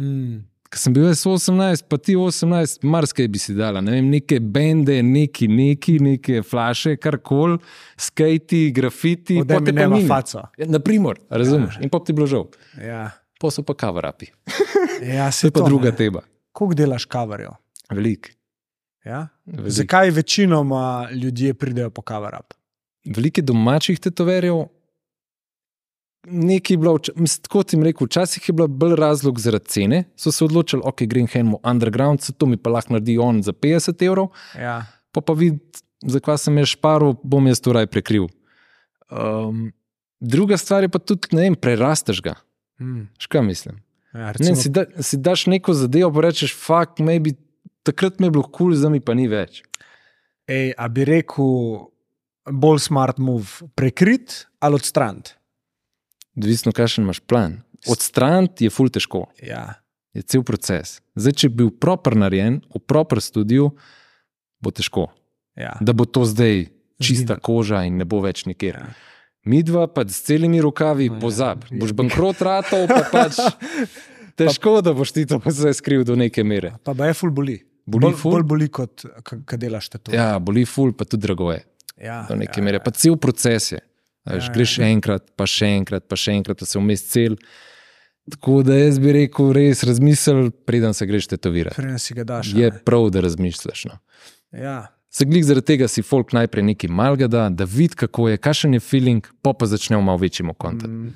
Mm. Ker sem bil jaz 18, pa ti 18, marsikaj bi si dala, ne vem, neke bende, neki, neki, neke flaše, karkoli, skati, grafiti, Odem te in nema faco. Naprimer, razumeš, in pop ti je bilo žal, Ja. pa so pa kavarapi. Ja, To se je pa druga tema. Kako delaš kavarjo? Velik. Ja? Velik. Zakaj večinoma ljudje pridejo po kavarap? veliko domačih tetoverjev. Nekaj je bilo, vč- mislim, tako ti rekel, včasih je bil bolj razlog zaradi cene. So se odločili, ok, grem hemu underground, to mi pa lahko naredi on za 50 evrov, Ja. pa pa vidi, zakaj sem jaz šparil, bom jaz to raj prekril. Um, druga stvar je pa tudi, ne vem, prerasteš ga. Mm. Škoda mislim. ja Ne, recimo, vem, si, da, si daš neko zadevo, pa rečeš, fuck, maybe, takrat mi je bilo kul, cool, zdaj mi pa ni več. ej, a bi rekel, bolj smart move, prekrit ali odstrant? Odvisno, kakšen imaš plan. Odstraniti je ful težko. Ja. je cel proces. Zdaj, če bi bil proper narejen, v proper studiu, bo težko. Ja. Da bo to zdaj čista koža in ne bo več nikjer. Ja. Mi dva pa s celimi rokavi ja. pozab, boš bankrot ratov, pa pač težko, da boš ti to vse skril do neke mere. Ja, Pa pa je ful boli. Boli bolj, ful? bolj boli, kot kaj delaš to. Ja, boli ful, pa tudi drago je. ja, Do neke ja, mere, ja. pa cel proces je. A Veš, Ja, greš enkrat, pa še enkrat, pa še enkrat, pa se vmes cel. Tako da jaz bi rekel, res razmisli, preden se greš tetovirati. Preden si ga daš. a Je ne? prav, da razmišljaš. No. Ja. Se glih zaradi tega si folk najprej nekaj malga da, da vidi, kako je, kakšen je feeling, pa pa začnemo malo večjemu kontentu. Mm.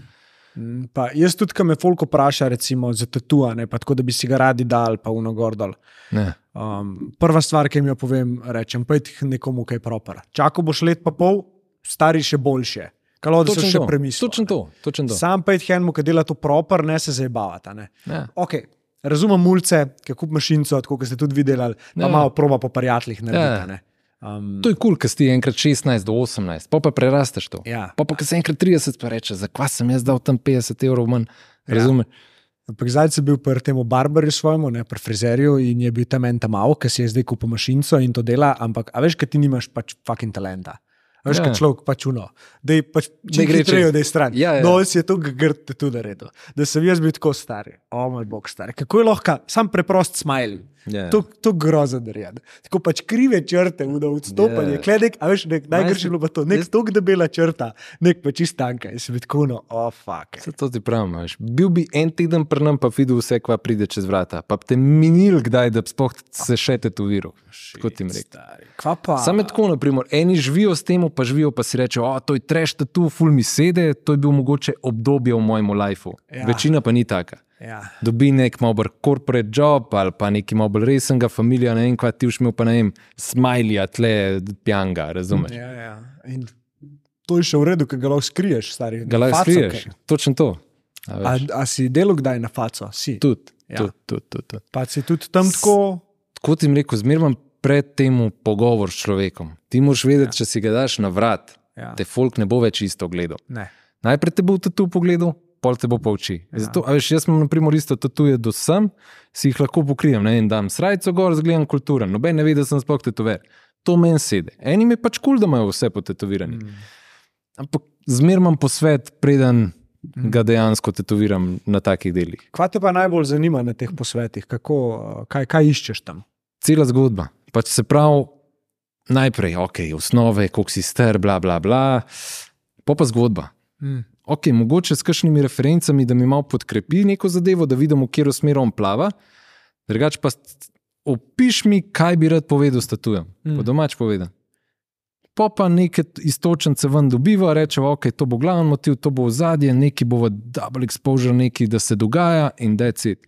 Mm, Pa, jaz tudi, ko me folko vpraša, recimo za tatuane, pa tako da bi si ga radi dal, pa unogor dol. Ne. Um, prva stvar, ki jim jo povem, rečem, pojdi k nekomu, kaj je proper. Čakal boš let pa pol, stari še boljše. Kalo, da so še to. premislili. Točno to. Točno to. Sam pojdi k enemu, ki dela to proper, ne se zabavata. Ne. Ja. Okay. Razumem mulce, ki kup mašinco, tako kot ste tudi videli, pa Ja. malo proba po prijateljih. Ja. Naredita, ja. Um, To je kul, cool, ki si enkrat 16 do 18, pa pa prerasteš to. Ja. Pa pa, ki si enkrat 30, pa rečeš, zakaj sem jaz dal tam 50 evrov manj. Razumeš? Ja. Ampak zdaj sem bil pri tem barbarju svojemu, ne, pri frizerju in je bil tam en tam avto, ki si je zdaj kupil mašinco in to dela, ampak a veš, kaj ti nimaš pač fucking talenta. A Veš, Ja. ja. kaj človek pač uno, da je pač Da gre nekaj trejo, čez. da je stran. Ja, ja. No, jaz je to grd tudi naredil, da sem jaz bil tako star, o moj bog, star. Kako je lahko, sam preprost smajl. Ja. To, to grozo naredi. Tako pač krive črte, uno odstopanje, Ja. yeah. kledek, a veš, nek, najgrši Najsi- je bilo pa to, nek tok debela črta, nek pa čist tanka in sem bil tako, no, o oh, fuck. Vse to ti pravim. veš. Bil bi en teden pri nam, pa videl vse, kva pride čez vrata. Pa bi te minil, kdaj, da bi sploh se še tetoviral. Tako ti jim rekel. Kva pa? Sam je tako, naprimer, eni živijo s tem, pa živijo pa si rečejo, o, to je treš, tu ful mi sede, to je bil mogoče obdobje v mojem lifeu. Ja. Ja. Večina pa ni taka. Ja. Dobi nek malo bolj corporate job ali pa nekaj malo bolj resnega, familija, ne vem, kva ti ušmil, pa ne vem, smajlija, tle, pjanga, razumeš? Ja, ja. In to je še v redu, ker ga lahko skriješ, stari. Ga lahko Faco, skriješ, kaj. točno to. A A, veš, a si delal kdaj na faco? Si. Tudi, Ja. tudi, tudi, tudi. tudi. Pa si tudi tam tako. kot jim rekel, zmeraj imam pred tem pogovor s človekom. Ti moraš vedeti, ja. če si ga daš na vrat, Ja. ja. te folk ne bo več isto gledal. Ne. Najprej te bo tu pogledal, pol te bo pa oči. Ja. Zato, a veš, jaz imam na primer isto tatuje do sem, si jih lahko pokrijem, ne vem, dam srajco gor, zgledam kulturen, noben ne ve, da sem sploh tetover. To meni sedi. Enim je pač kul, cool, da imajo vse potetovirani. Mm. Ampak zmeraj imam posvet, preden mm. ga dejansko tetoviram na takih delih. Kva te pa najbolj zanima na teh posvetih, kako, eh, kaj, kaj iščeš tam? cela zgodba. Pač se pravi, najprej, ok, osnove, koliko si star, bla, bla, bla, pa pa zgodba. Mm. Ok, mogoče s kakšnimi referencami, da mi malo podkrepi neko zadevo, da vidim, v katero smer on plava. Drugač pa s- opiš mi, kaj bi rad povedal s tatujem, Mm. mm. po domač povedan. Pa pa neke t- iztočence ven dobiva, rečeva, ok, to bo glavni motiv, to bo ozadje, neki bo double exposure, neki, da se dogaja in da je cit.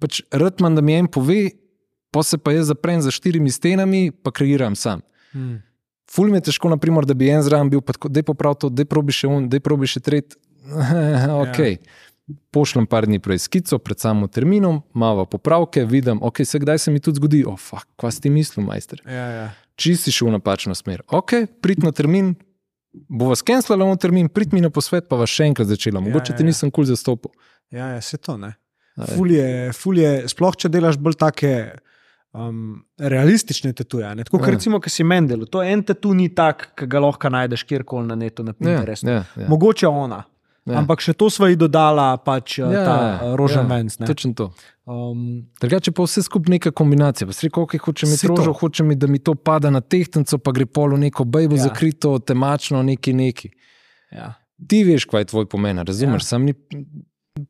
Pač rad manj, da mi en pove, pa se pa jaz zaprem za štirimi stenami, pa kreiram sam. Mm. Ful mi je težko, naprimer, da bi en zraven bil, pa tako, da je poprav to, da je probi še un, da je probi še tret. ok. Ja. Pošljem par dni prej skico, pred samim terminom, malo popravke, vidim, ok, se kdaj se mi tudi zgodi, o, oh, fuck, kva si ti mislil, majster. Ja, ja. Če si šel v napačno smer, ok, prid na termin, bo vas kenslalo na termin, prid mi na posvet, pa vas še enkrat začela. Mogoče ja, ja, ja, te ja. nisem kul cool zastopil. Ja, ja, se to ne. A veš. Fulje, fulje, sploh če delaš bolj take um, realistične tatuje. ne. Tako kot Ja. recimo, ki si Mendel, to en tatu ni tak, ki ga lahko najdeš kjerkoli na netu, Ja, na Pinterestu. ja, ja. Mogoče ona. Ja. Ampak še to sva ji dodala, pač ja, ta eh, rožen ja, venc. ne. Točno to. Um, Drugače pa vse skupaj neka kombinacija. Pa si rekel, okay, hoče mi Saj to. trožo, hoče mi, da mi to pada na tehtnico, pa gre polo neko bejbo Ja. ja. zakrito, temačno, neki neki. ja. Ti veš, kaj je tvoj pomen, razumeš? Ja. Ja. Sam ni,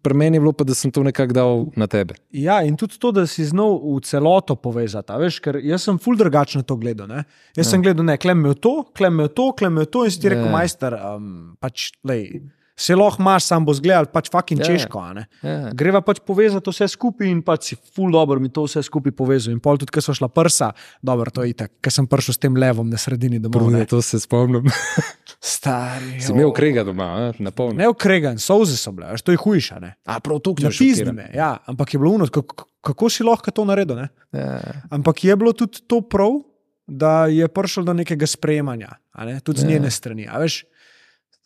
pri meni je bilo pa, da sem to nekako dal na tebe. Ja, in tudi to, da si znal v celoto povezati. a Veš, ker jaz sem ful drugačno to gledal. Ne? Jaz ja. sem gledal, ne, klemel to, klemel to, klemel to in si ti Ja. rekel, majster, um, pač, lej, se lahko imaš, sam boš gledal, pač fucking Ja. ja. češko. a ne. Ja. Greva pač povezati vse skupaj in pač si ful dobro mi to vse skupaj povezal. In pol tudi, ker so šla prsa, dobro, to je itak, ker sem prišel s tem levom na sredini domov. Prvo, no, Ne? to se spomnim. Stari. si imel o. krega doma, a? na polno. Ne okregan, soze so bile, veš, to je hujša. ne. A prav to, kdo Napisne me, ja, ampak je bilo uno, kako, kako si lahko to naredil. Ne? Ja. Ampak je bilo tudi to prav, da je prišlo do nekega sprejemanja, a ne? tudi z Ja. njene strani. a Veš,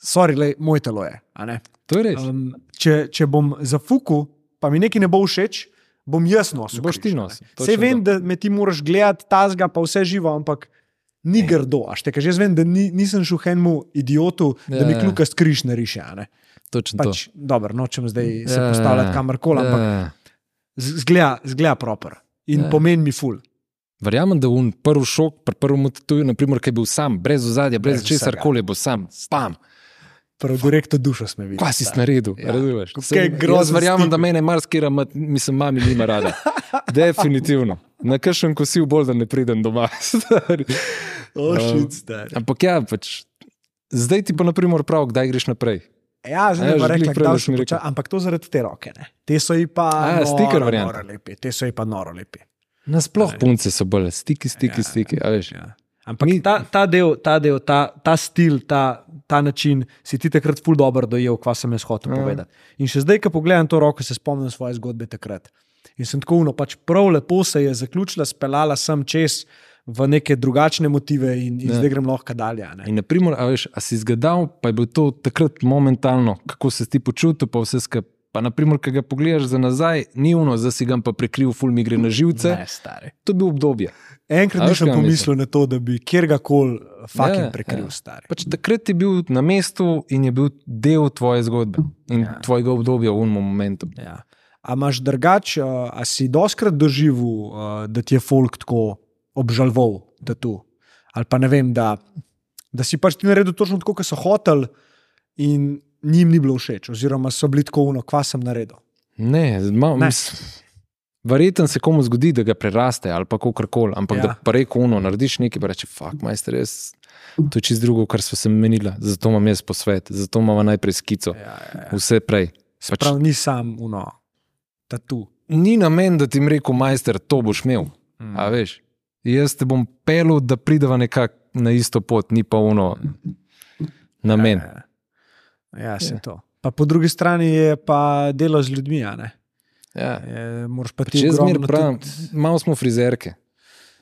sorry, lej, moje telo je. a ne. To je res. Um, Um, če, če bom zafuku, pa mi nekaj ne bo všeč, bom jaz nosil. Boš ti križ, a ne. nosil, Saj točno vem, da me ti moraš gledati, tazga pa vse živo, ampak. Ni grdo, až te kaže. Jaz vem, da ni, nisem šel enemu idiotu, da Ja, mi ja. kljuka skriš nariše. a Ne? Točno to. Pač, dobro, nočem zdaj se Ja, postavljati kamorkoli, ampak ja. z- zgleda, zgleda proper in Ja. pomeni mi ful. Verjamem, da un prvi šok, pri prvem tuju, naprimer, ki je bil sam, brez ozadja, brez, Brez brez česar vsega. koli, bo sam, spam. Prav Torej, direktno dušo smo videli. Kaj si naredil? Ja. Ja. Razumeš? Kaj Sem- grozen jaz Verjamem, stik. da mene marsikira, mislim, mami nima rada. Definitivno. Na kakšen kosil bolj, da ne pridem doma. stari. Oh, shit, shit, Ja, Ampak ja, pač. Zdaj ti pa naprimer prav, kdaj greš naprej. Ja, A ja, zdaj ne že bi glih rekla, prejle si kdaj mi smo rekel. počeli, ampak to zaradi te roke. Ne. Te so ji pa A ja, noro, sticker varianta. noro lepi, te so ji pa noro lepi. Nasploh punce so bolj, stiki, stiki, stiki. A veš, Ja. Ampak Mi- Mi... ta, ta del, ta, del ta, ta stil, ta, ta način si ti takrat ful dobro dojel, kva sem jaz hotel Ja. povedati. In še zdaj, ko pogledam to roko, se spomnim svoje zgodbe takrat. In sem tako uno, pač prav lepo se je zaključila, speljala sem čez v neke drugačne motive in, in Ja. zdaj grem lahko dalje. a ne. In, na primer, a, veš, a si zgadal, pa je bil to takrat momentalno, kako se si ti počutil, pa vse skupaj. Pa, na primer, ki ga pogledaš za nazaj, ni uno, zdaj si ga pa prekril, ful mi gre na živce. Ne, stari. To je bilo obdobje. A Enkrat veš, nisem kaj pomislil na to, da bi kjerkoli fucking Ja, yeah, prekril ja. yeah. stari. Pač takrat je bil na mestu in je bil del tvoje zgodbe in ja. Ja. tvojega obdobja v unem momentu. Ja. A imaš drugače, a si doskrat doživel, eh, da ti je folk tako obžaloval, da tu. Ali pa ne vem, da, da si pač ti naredil točno tako, kot so hoteli, in njim ni bilo všeč, oziroma so bili tako uno, kva sem naredil. Ne, ma, Ne. mis, verjetno se komu zgodi, da ga preraste ali pa kako koli, ampak ja. da Ja. pa reko uno, narediš nekaj, pa reče, fuk, majster, jaz. To je čisto drugo, kar smo se menili, zato imam jaz posvet, zato imam najprej skico, ja. vse prej. Pač- Prav ni sam uno, da tu. ni namen, da ti jim rekel, majster, to boš imel. Mm. A veš, jaz te bom pelil, da prideva nekako na isto pot, ni pa uno namen. Ja, ja se to. Pa po drugi strani je pa delo z ljudmi, a ne. Ja. E, moraš pa ti Če jaz zmeraj ogromno pravim, tudi- malo smo frizerke.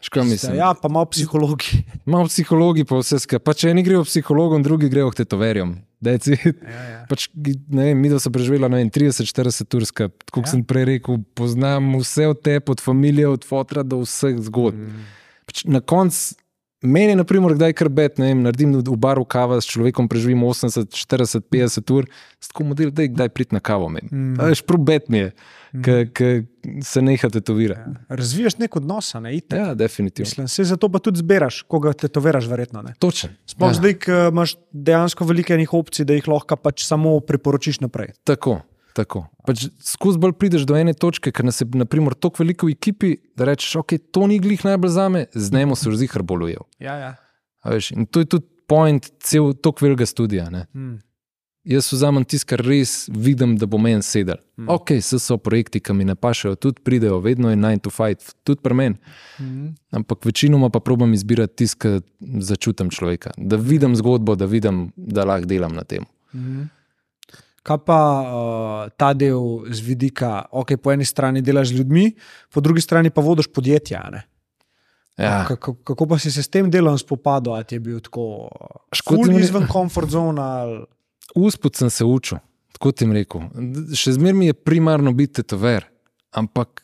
Škoda mislim. Ja, pa malo psihologi. Malo psihologi pa vse skupaj. Pa če eni grejo psihologom, drugi grejo k tetoverjem. Deci, Ja, ja. pač, ne vem, mi da so preživela 30-40 ur skupaj. Tako kot Ja. ja. sem prej rekel, poznam vse od te, od familije, od fotra do vseh zgodb. Mm. Pač na koncu, meni je, na primer, kdaj krbet, ne vem, naredim v baru kava s človekom, preživim 80, 40, 50 ur, s tako model, da je kdaj prid na kavo. Mm. Mm. Veš, probet mi je, Mm. ki se neha Ja. tetovirati. Razviješ nek odnos, a ne iti. Ja, definitivno. Mislim, se zato pa tudi zbiraš, koga tetoviraš, verjetno. ne. Točen. Sploh ja. ja, zdaj, ko imaš dejansko veliko enih opcij, da jih lahko pač samo priporočiš naprej. tako. Tako. Pač Skozi bolj prideš do ene točke, ker nas je naprimer, tako veliko v ekipi, da rečeš, ok, to ni glih najbolj za me, znemo se vzi hrbolujev. Ja, ja. In to je tudi point cel tok velikega studija. Ne? Mm. jaz vzamem tisto, kar res vidim, da bo meni sedel. Mm. Ok, vse so projekti, ki mi ne pašajo, tudi pridejo, vedno je 9 to 5, tudi pri meni. Mm. Ampak večinoma pa probujem izbirati tisto, kar začutim človeka, da vidim zgodbo, da vidim, da lahko delam na tem. Mhm. Kaj pa uh, ta del z vidika, ok, po eni strani delaš z ljudmi, po drugi strani pa vodiš podjetja. a ne? Ja. Kako, kako pa si se s tem delom spopadal, ali ti je bil tako Škodljivo škodljiv ne- izven komfort zona? Ali... Uspod sem se učil, tako ti rekel. D- Še zmeraj mi je primarno biti tetover, ampak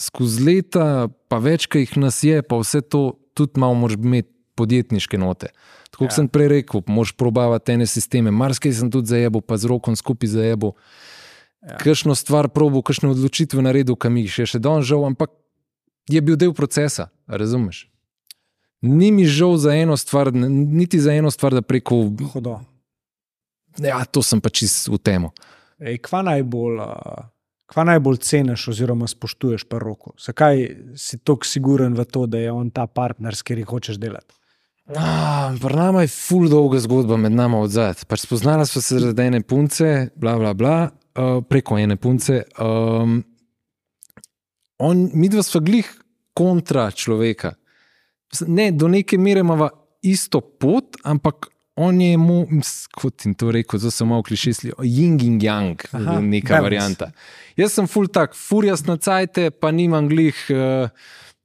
skozi leta, pa več, ki jih nas je, pa vse to tudi malo moraš imeti podjetniške note. Tako kot ja. Ja. sem prej rekel, moš probavati ene sisteme. Marsikaj sem tudi zajebo, pa z rokom skupaj zajebo. Ja. Ja. Kakšno stvar probo, kakšne odločitve naredil, kam jih je še danes žal, ampak je bil del procesa, a razumeš? Ni mi žal za eno stvar, n- niti za eno stvar, da preko Hudo. Ja, to sem pač v temo. Ej, kva najbolj, uh, kva najbolj ceniš, oziroma spoštuješ pri roku? Zakaj si tako siguren v to, da je on ta partner, s katerim hočeš delati? Ah, Pri nama je ful dolga zgodba med nami od zadaj. Pač spoznala sva se zaradi ene punce, bla, bla, bla, uh, preko ene punce. Um, on, mi dva sva glih kontra človeka. Mislim, Ne, do neke mere imamo isto pot, ampak on je, mu, ms, kot jim to rekel, zelo sem malo klišesli, jing in jang, Aha, neka balance. varianta. Jaz sem ful tak, furjas na cajte, pa nimam glih. Uh,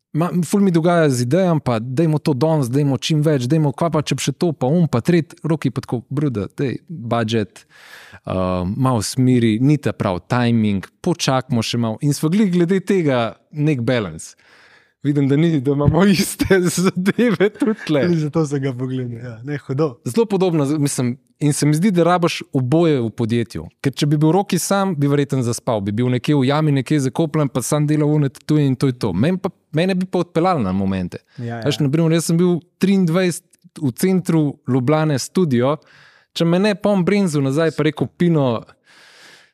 Ma, ful mi dogaja z idejami, pa dajmo to danes, dajmo čim več, dajmo kva pa če bi še to, pa um, pa tret, roki pa tako, bruda, dej, budžet, uh, malo smiri, ni ta prav timing, počakajmo še malo. In smo gli glede tega nek balans. Vidim, da, ni, da imamo iste zadeve tudi tle. zato se ga pogledam, ja, ne hudo. Zelo podobno, z- mislim, in se mi zdi, da rabaš oboje v podjetju. Ker če bi bil roki sam, bi verjetno zaspal, bi bil nekje v jami, nekje zakopljen, pa sam delal unet tu in to je to. Mene, pa, mene bi pa odpeljal na momente. Ja, Veš, no- ja. naprimer, jaz sem bil 23 v centru Ljubljana studio, če me ne pom brinzu nazaj, pa rekel Pino,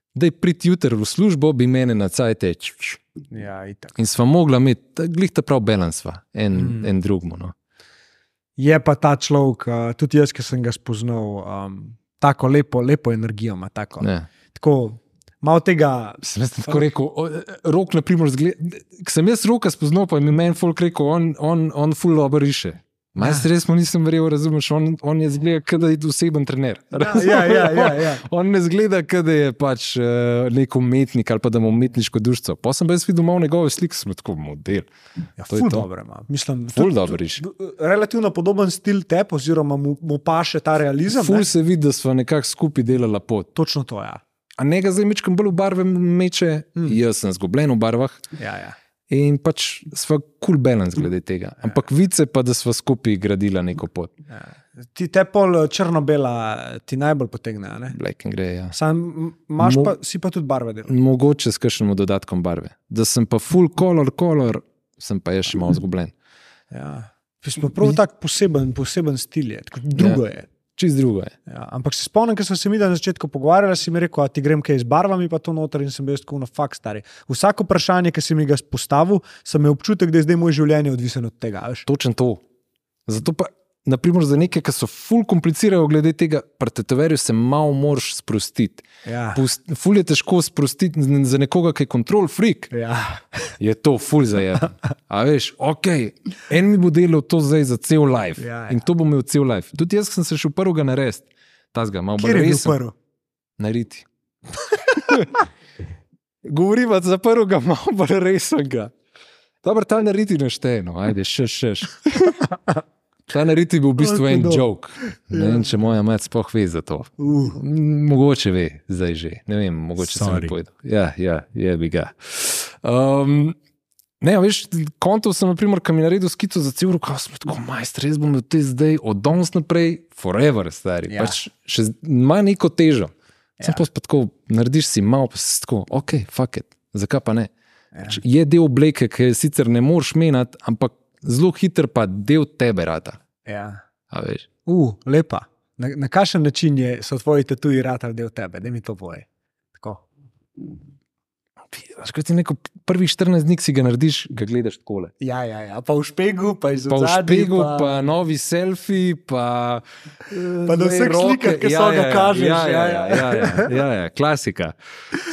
da je prid jutr v službo, bi mene nazaj teč. ja, itak. In sva mogla imeti, glih ta prav balansva, en, mm. Mm. en drugmu. No. Je pa ta človek, uh, tudi jaz, ki sem ga spoznal, um, tako lepo, lepo energijo ima. Tako. Ne. Tako, malo tega, Sem jaz tako rekel, o, eh, rok na primer zgleda. Ko sem jaz roka spoznal, pa je mi meni folk rekel, on, on, on full dobro riše. Ma Ja. jaz res mu nisem verjel, razumeš, on, on je zgleda, kot da je oseben trener. ja, ja, ja, ja. On ne zgleda, kot da je pač eh, nek umetnik ali pa da ima umetniško dušo. Pa sem pa jaz videl malo njegove slike, sem tako model. ja, to je ful to. dobro ima. Mislim, Ful tudi- dobro riše. tudi, eh, Relativno podoben stil tebi, oziroma mu, mu paše ta realizem. Ful ne. se vidi, da smo nekako skupaj delali pot. Točno to, ja. A ne ga zdaj mečkam bolj v barve meče, mm. jaz sem zgubljen v barvah ja, ja. in pač sva kul cool balans glede tega. Ampak vice pa, da sva skupaj gradila neko pot. Ja. Ti te pol eh, črno-bela eh, ti najbolj potegne. a ne? Black and grey, ja. Sam m- imaš Mo- pa, si pa tudi barve delal. Mogoče s kakšnim dodatkom barve. Da sem pa full color, color, sem pa jaz še malo zgubljen. Ja. Ker Smo prav tako poseben, poseben stil, je, tako drugo ja. je. Čez drugo je. Ja, ampak se spomnim, ker sem se mi na začetku pogovarjal, si mi rekel, a ti grem kaj z barvami, pa to noter in sem bil jaz tako na fakt stari. Vsako vprašanje, ki si mi ga postavil, sem imel občutek, da je zdaj moje življenje odvisno od tega. a veš. Točen to. Zato pa, naprimer, za neke, ki so full komplicirajo glede tega, pri tetoverju se malo moraš sprostiti. Ja. Pust, ful je težko sprostiti n- za nekoga, ki je kontrol freak. Ja. Je to ful za je. A veš, ok, en mi bo delal to zdaj za cel life. Ja, ja. In to bom imel cel life. Tudi jaz sem se šel prvega narediti, tazga, malo bolj Kjer je bil resen. prvi? Nariti. Govoriva za prvega, malo bolj resnega. Dobro, ta nariti neštejeno, ajde, še šeš. Ta nariti je bil v bistvu Kako en dobro. joke. Ne Ja. vem, če moja mati sploh ve za to. Uh. M, Mogoče ve, zdaj že. Ne vem, mogoče sem Sorry. jim povedal. Ja, ja, je bi ga. Um, ne, a veš, konto sem, na primer, kam je naredil skico za cel rok, sem bil tako majster, res bom imel te zdaj, od danes naprej, forever, stari. Ja. Ja. Pač še z- ima neko težo. Sem ja. pa tako, narediš si malo, pa si tako, ok, fuck it, zakaj pa ne. Ja. Je del obleke, ki je sicer ne moreš menjati, ampak zelo hiter pa del tebe rata. Ja. A veš. Uh, lepa. Na, na kakšen način je, so tvoji tatuji ratar del tebe, da mi to povej. Tako. Škrat je neko prvih 14 dni, ki si ga narediš, ga gledaš takole. Ja, ja, ja, pa v špegu, pa iz pa v odzadaj, špegu, pa, pa novi selfie, pa, eh, Pa na vseh slikah, ki so ga kažeš, Ja, ja, ja, ja, ja, ja, ja, ja, klasika.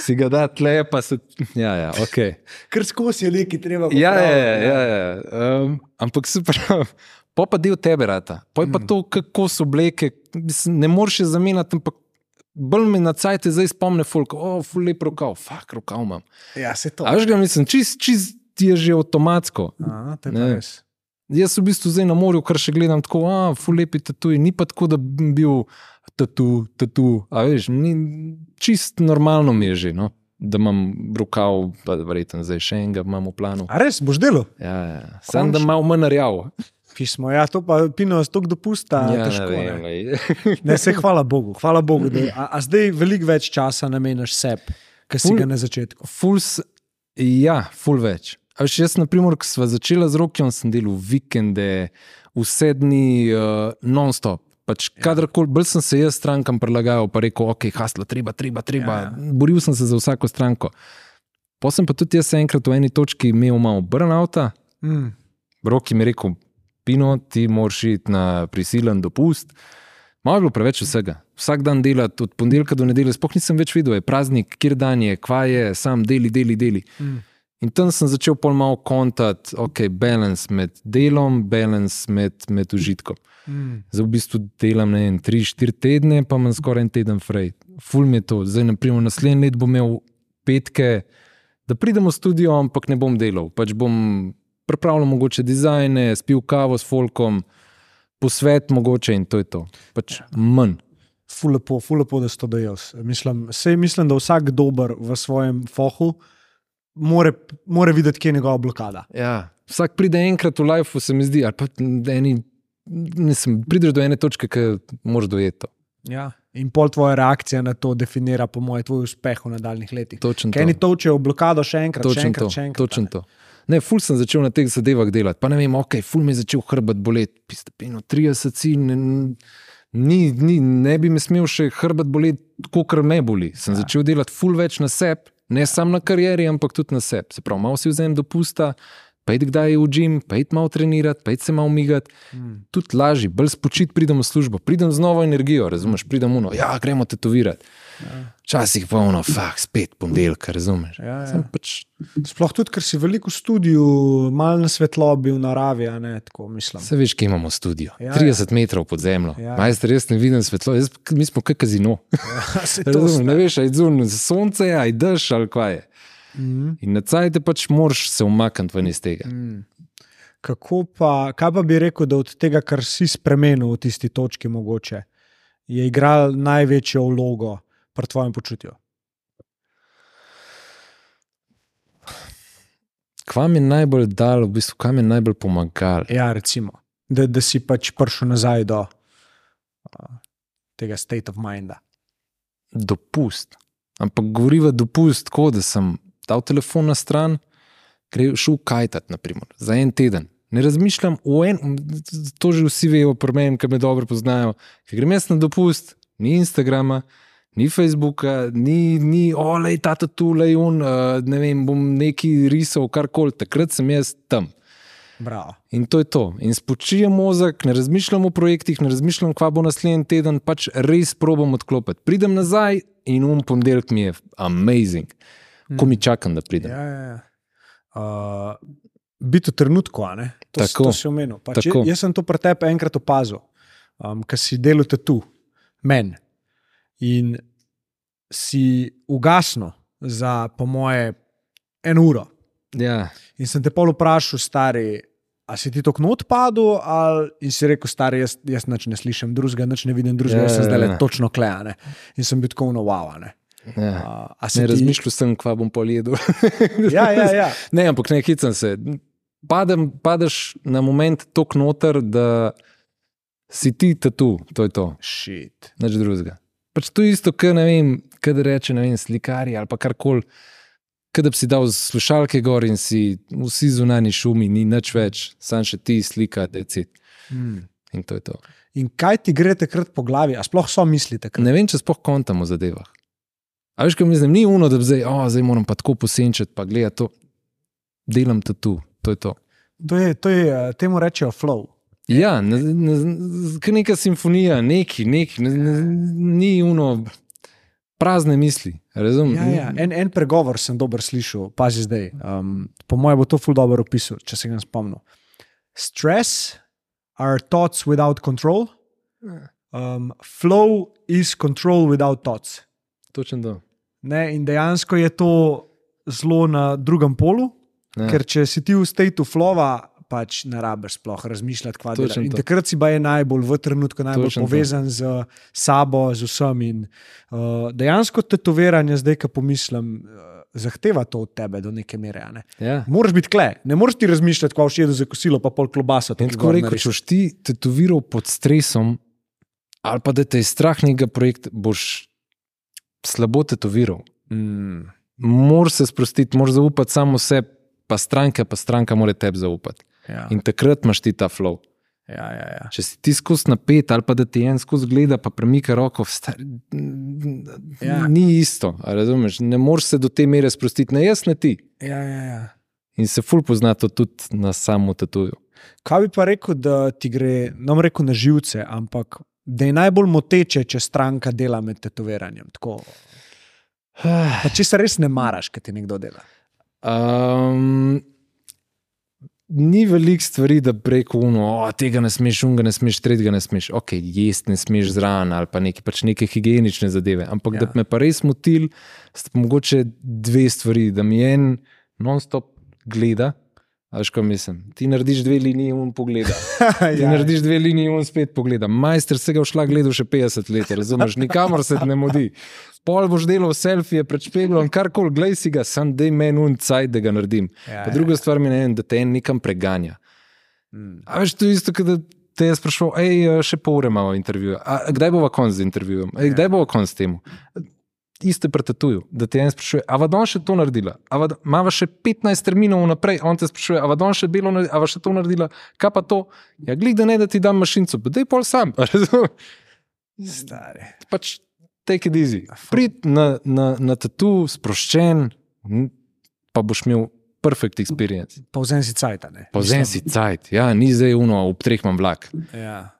Si ga da tle, pa se. Ja, ja, okay. Ker skozi je neki treba. ja, ja, ja, popraviti, ja, ja. Um, ampak se pravi. Pa pa del tebe, rata. Pa je Mm. pa to, kako so obleke, mislim, ne moreš je zamenjati, ampak bolj me na cajt zdaj spomne, fulk, o, oh, fulk lep rokav, fuk, rokav imam. Ja, se to. A veš ga, mislim, čist, čist je že avtomatsko. Aha, to je Ne. pa res. Jaz v bistvu zdaj na morju, kar še gledam, tako, a, fulepi tatuji, ni pa tako, da bi bil tatu, tatu, a veš, ni, čist normalno mi je že, no? da imam rokav, pa verjetno zdaj še enega imam v planu. A res, boš delal? Ja, ja. Sam da malo manj rjav. Pismo, ja, to pa pino je stok dopusta, ja, Ja, težko. ne Ne vem, glej. ne, se hvala Bogu, hvala Bogu. Da, a, a zdaj veliko več časa namenjaš sebi, ki si Ful. ga na začetku. Ful, s- ja, ful več. A veš, jaz, na primer, ko sva začela z rokom, sem delal vikende, vse dni, uh, non-stop. Pač kadarkoli, bolj sem se jaz strankam prilagajal, pa rekel, ok, haslo, treba, treba, treba. Ja, Ja, ja. Boril sem se za vsako stranko. Potem pa tudi jaz enkrat v eni točki imel malo burnouta, Mm. Roki mi je rekel, Pino, ti moraš iti na prisilen dopust. Malo je bilo preveč vsega. Vsak dan delati, od ponedeljka do nedelje, spoh nisem več videl, je praznik, kjer dan je, kva je, sam deli, deli, deli. Mm. In tam sem začel pol malo kontakt, ok, balans med delom, balans med, med užitkom. Mm. Zdaj v bistvu delam ne vem, tri, štiri tedne, pa imam skoraj en teden fraj. Ful mi je to. Zdaj, na primer, naslednji let bom imel petke, da pridem v studio, ampak ne bom delal. Pač bom pripravljal mogoče dizajne, spil kavo s folkom, posvet mogoče in to je to. Pač ja. manj. Ful lepo, ful lepo, da si to dejal. Mislim, sej mislim, da vsak dober v svojem fohu more, more videti, kje je njegova blokada. Ja. Vsak pride enkrat v life, se mi zdi, ali pa eni, mislim, prideš do ene točke, ki moraš dojeti. to. Ja. In pol tvoja reakcija na to definira, po mojem, tvoj uspeh v nadaljnih letih. Točno to. Ker eni točejo blokado še enkrat, še Točen enkrat, to. še enkrat. Točen to. Ne, ful sem začel na teh zadevah delati. Pa ne vem, ok, ful mi je začel hrbet boleti, pistepino 30, si, ne, ni, ni, ne bi me smel še hrbet boleti, kot kar me boli. Sem ja. Ja. začel delati ful več na sebi, ne samo na karieri, ampak tudi na sebi. Se pravi, malo si vzem dopusta, pa idi kdaj v gim, pa idi malo trenirati, pa idi se malo umigati. Hmm. Mm. Tudi lažje, bolj spočit pridem v službo, pridem z novo energijo, razumeš, pridem uno, ja, gremo tetovirati. Včasih pa ono, fah, spet ponedeljek, razumeš. Ja, ja. Sem Pač, Sploh tudi, ker si veliko v studiu, malo na svetlobi v naravi, a ne tako mislim. se veš, kje imamo studio. Ja, ja. Ja, 30 ja. metrov pod zemljo, Ja, ja. ja, majster, jaz ne vidim svetlo, jaz, mi smo kot kazino. Se to Razumem, ne veš, aj zunaj sonce, je, aj dež ali kaj je. Mhm. In na cajt pač moraš se umakniti ven iz tega. Mm. Kako pa, kaj pa bi rekel, da od tega, kar si spremenil v tisti točki, mogoče, je igral največjo vlogo pri tvojem počutju? Kvam je najbolj dal, v bistvu, kam je najbolj pomagal. Ja, recimo, da, da si pač prišel nazaj do a, tega state of minda. Dopust. Ampak govoriva dopust tako, da sem dal telefon na stran, gre šel kajtat, naprimer, za en teden. Ne razmišljam o enem, to že vsi vejo, pri meni, ki me dobro poznajo. Ker grem jaz na dopust, ni Instagrama, ni Facebooka, ni, ni olej, ta tu, lej un, uh, ne vem, bom neki risal, karkoli, takrat sem jaz tam. Bravo. In to je to. In spočije možak, ne razmišljam o projektih, ne razmišljam, kva bo naslednji teden, pač res probam odklopiti. Pridem nazaj in um ponedeljek mi je amazing, ko mi čakam, da pridem. Mm. Ja, ja, ja. Uh, biti v trenutku, a ne? To, si- Tako. to si omenil. Pač Tako. jaz, jaz sem to pri tebi enkrat opazil, um, ker si delal tu, meni. In si ugasnil za, po moje, eno uro. Ja. In sem te pol vprašal, stari, a si ti to knot padel, ali in si rekel, stari, jaz, jaz nič ne slišim, drugega nič ne vidim, Ja, drugega yeah, sem ja, zdaj le ja. točno klejane. In sem bil tako "No, unovavane. Ja. Uh, a Ne ti- razmišljal sem, kva bom pojedel. Ja, ja, ja. Ne, ampak ne hicam se. Padem, padeš na moment tok noter, da si ti tatu, to je to. Shit. nič drugega. Pač to je isto, kar ne vem, kaj reče, ne vem, slikari ali pa karkoli. Kaj da bi si dal slušalke gor in si vsi zunani šumi, ni nič več, sam še ti slika, decit. Mm. In to je to. In kaj ti gre takrat po glavi, a sploh so misli takrat? Ne vem, če spoh kontam o zadevah. A veš, kaj mislim, ni uno, da bi zdaj, oh, zdaj moram pa tako posenčati, pa gledaj to. Delam to tu, to je to. To je, to je, eh, temu rečejo flow. Ja, ne, ne, ne, neka simfonija, neki, neki, ne, ne, ni uno, prazne misli, razumem? Ja, ja. En, en pregovor sem dober slišal, pazi zdaj. Um, po mojem bo to ful dobro opisal, če se ga ne spomnim. Stress are thoughts without control. Um, flow is control without thoughts. Točen to. Ne? In dejansko je to zelo na drugem polu, Ja. ker če si ti v stateu flova, pač ne rabiš sploh razmišljati, kaj delaš. Točno In to. takrat si pa je najbolj v trenutku, Točno najbolj Točno to. povezan to. z sabo, z vsem. In, uh, dejansko tetoviranje, zdaj, ko pomislim, uh, zahteva to od tebe do neke mere. a Ne? Ja. Moraš biti kle, ne moreš ti razmišljati, kaj všeč za kosilo, pa pol klobasa. In tako rekel, če boš ti tetoviral pod stresom, ali pa da te je strah nekega projekta, boš slabo tetoviral. Mm, Moraš se sprostiti, moraš zaupati samo sebi, pa stranka, pa stranka mora tebi zaupati. ja, In takrat imaš ti ta flow. ja, ja, ja. Če si ti skozi napet, ali pa da ti en skozi gleda, pa premika roko, star, Ja. ja. ni isto. a Razumeš? Ne moreš se do te mere sprostiti, ne jaz, ne ti. ja, ja, ja. In se ful pozna to tudi na samo tatuju. Kaj bi pa rekel, da ti gre, nam reko na živce, ampak da je najbolj moteče, če stranka dela med tetoviranjem. Tako. Pa če se res ne maraš, kaj ti nekdo dela. Um, ni veliko stvari, da preko uno, "O, tega ne smeš, unga ne smeš, tretjega ne smeš. Ok, jesti ne smeš zraven ali pa neke, pač neke higienične zadeve. Ampak Ja. ja. da bi me pa res motil, sta pa mogoče dve stvari, da mi en non-stop gleda. a Veš, kaj mislim? Ti narediš dve liniji in on pogleda. Ti ja. narediš dve liniji in on spet pogleda. Majster se ga všla gledal še 50 let, razumeš, nikamor se ne modi. Pol boš delal selfije pred špeglom, karkoli, glej si ga, sam dej meni un caj, da ga naredim. Ja, Pa druga stvar mi je, ne vem, da te en nekam preganja. Mm. A veš, to je isto, kot da te jaz sprašujem, hej, še pol ure imamo intervjuja. A kdaj bova konc z intervjujem? Ej, kdaj bova konc s tem? Iste pretatuju, da te en sprašuje, a vadon še to naredila, imamo še 15 terminov vnaprej, on te sprašuje, a vadon še belo, a va še to naredila, kaj pa to? Ja, glej, da ne, da ti dam mašinco, pa dej pol sam. razumeš? Stari. pač take it easy. Prid na, na, na tatu, sproščen, n- pa boš imel perfect experience. Pa vzem si cajt. a ne. Povzem si Mislim, cajt, ja, ni zdaj uno, ob treh imam vlak. Ja.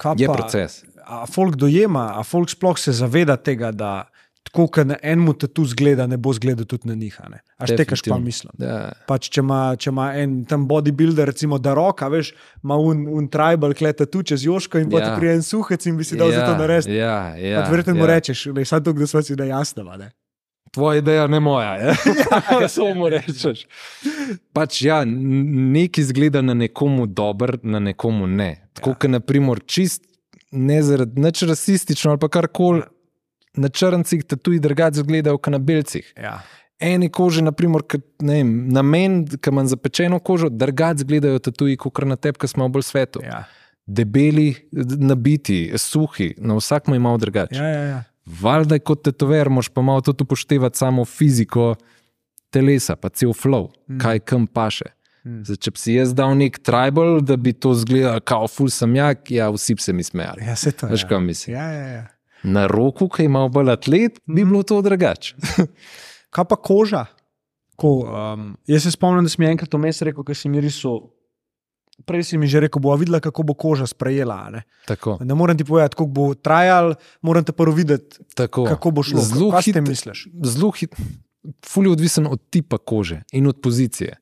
Kaj Je pa- proces. A folk dojema, a folk sploh se zaveda tega, da tako, kot na enem tatu zgleda, ne bo zgledal tudi na njih. a ne? A štekaš pa Definitivno. mislim. Da, Pač, če ima, če ima en tam bodybuilder, recimo, da roka, veš, ima un, un tribal, kleta tu čez Joško in potem Ja. ja. prije en suhec in bi si dal ja, za to narediti. Ja, ja, Ja, pač, verjetno ja. mu ja. rečeš, le sad to, da smo si na jasno. Ne? Tvoja ideja ne moja, je. ja, samo rečeš. Pač ja, n- nekaj zgleda na nekomu dober, na nekomu ne. Tako ja. kot naprimer čist, ne zaradi nič rasistično ali pa Ja. karkoli. Na črncih tatuji drugače izgledajo kot na belcih. Ja. Eni koži, naprimer, ke, ne vem, na meni, ki imam zapečeno kožo, drugače izgledajo tatuji kot na tebi, ki smo bolj svetu. Ja. Ja. Debeli, d- nabiti, suhi, na vsakem imamo drugače. Ja, ja, ja. Valjda kot tetover, moš pa malo tudi upoštevati samo fiziko telesa, pa cel flow, mm. kaj kam paše. Mm. Mm. Zdaj, če bi si jaz dal nek tribal, da bi to zgledal, kao ful sem jak, ja, vsi bi se mi smejali. ja se to Veš, je. kaj mislim. Ja, ja, ja. Na roku, ki ima bolj atlet, bi bilo to drugače. Kaj pa koža? Ko, um, jaz se spomnim, da si mi enkrat vmes rekel, ker si mi risal. Prej si mi že rekel, bo videla, kako bo koža sprejela. a Ne, Tako, ne morem ti povedati, kako bo trajal, moram te prvo videti, tako. kako bo šlo. Zelo Kaj s tem hit- misliš? Zelo hit, ful je odvisen od tipa kože in od pozicije.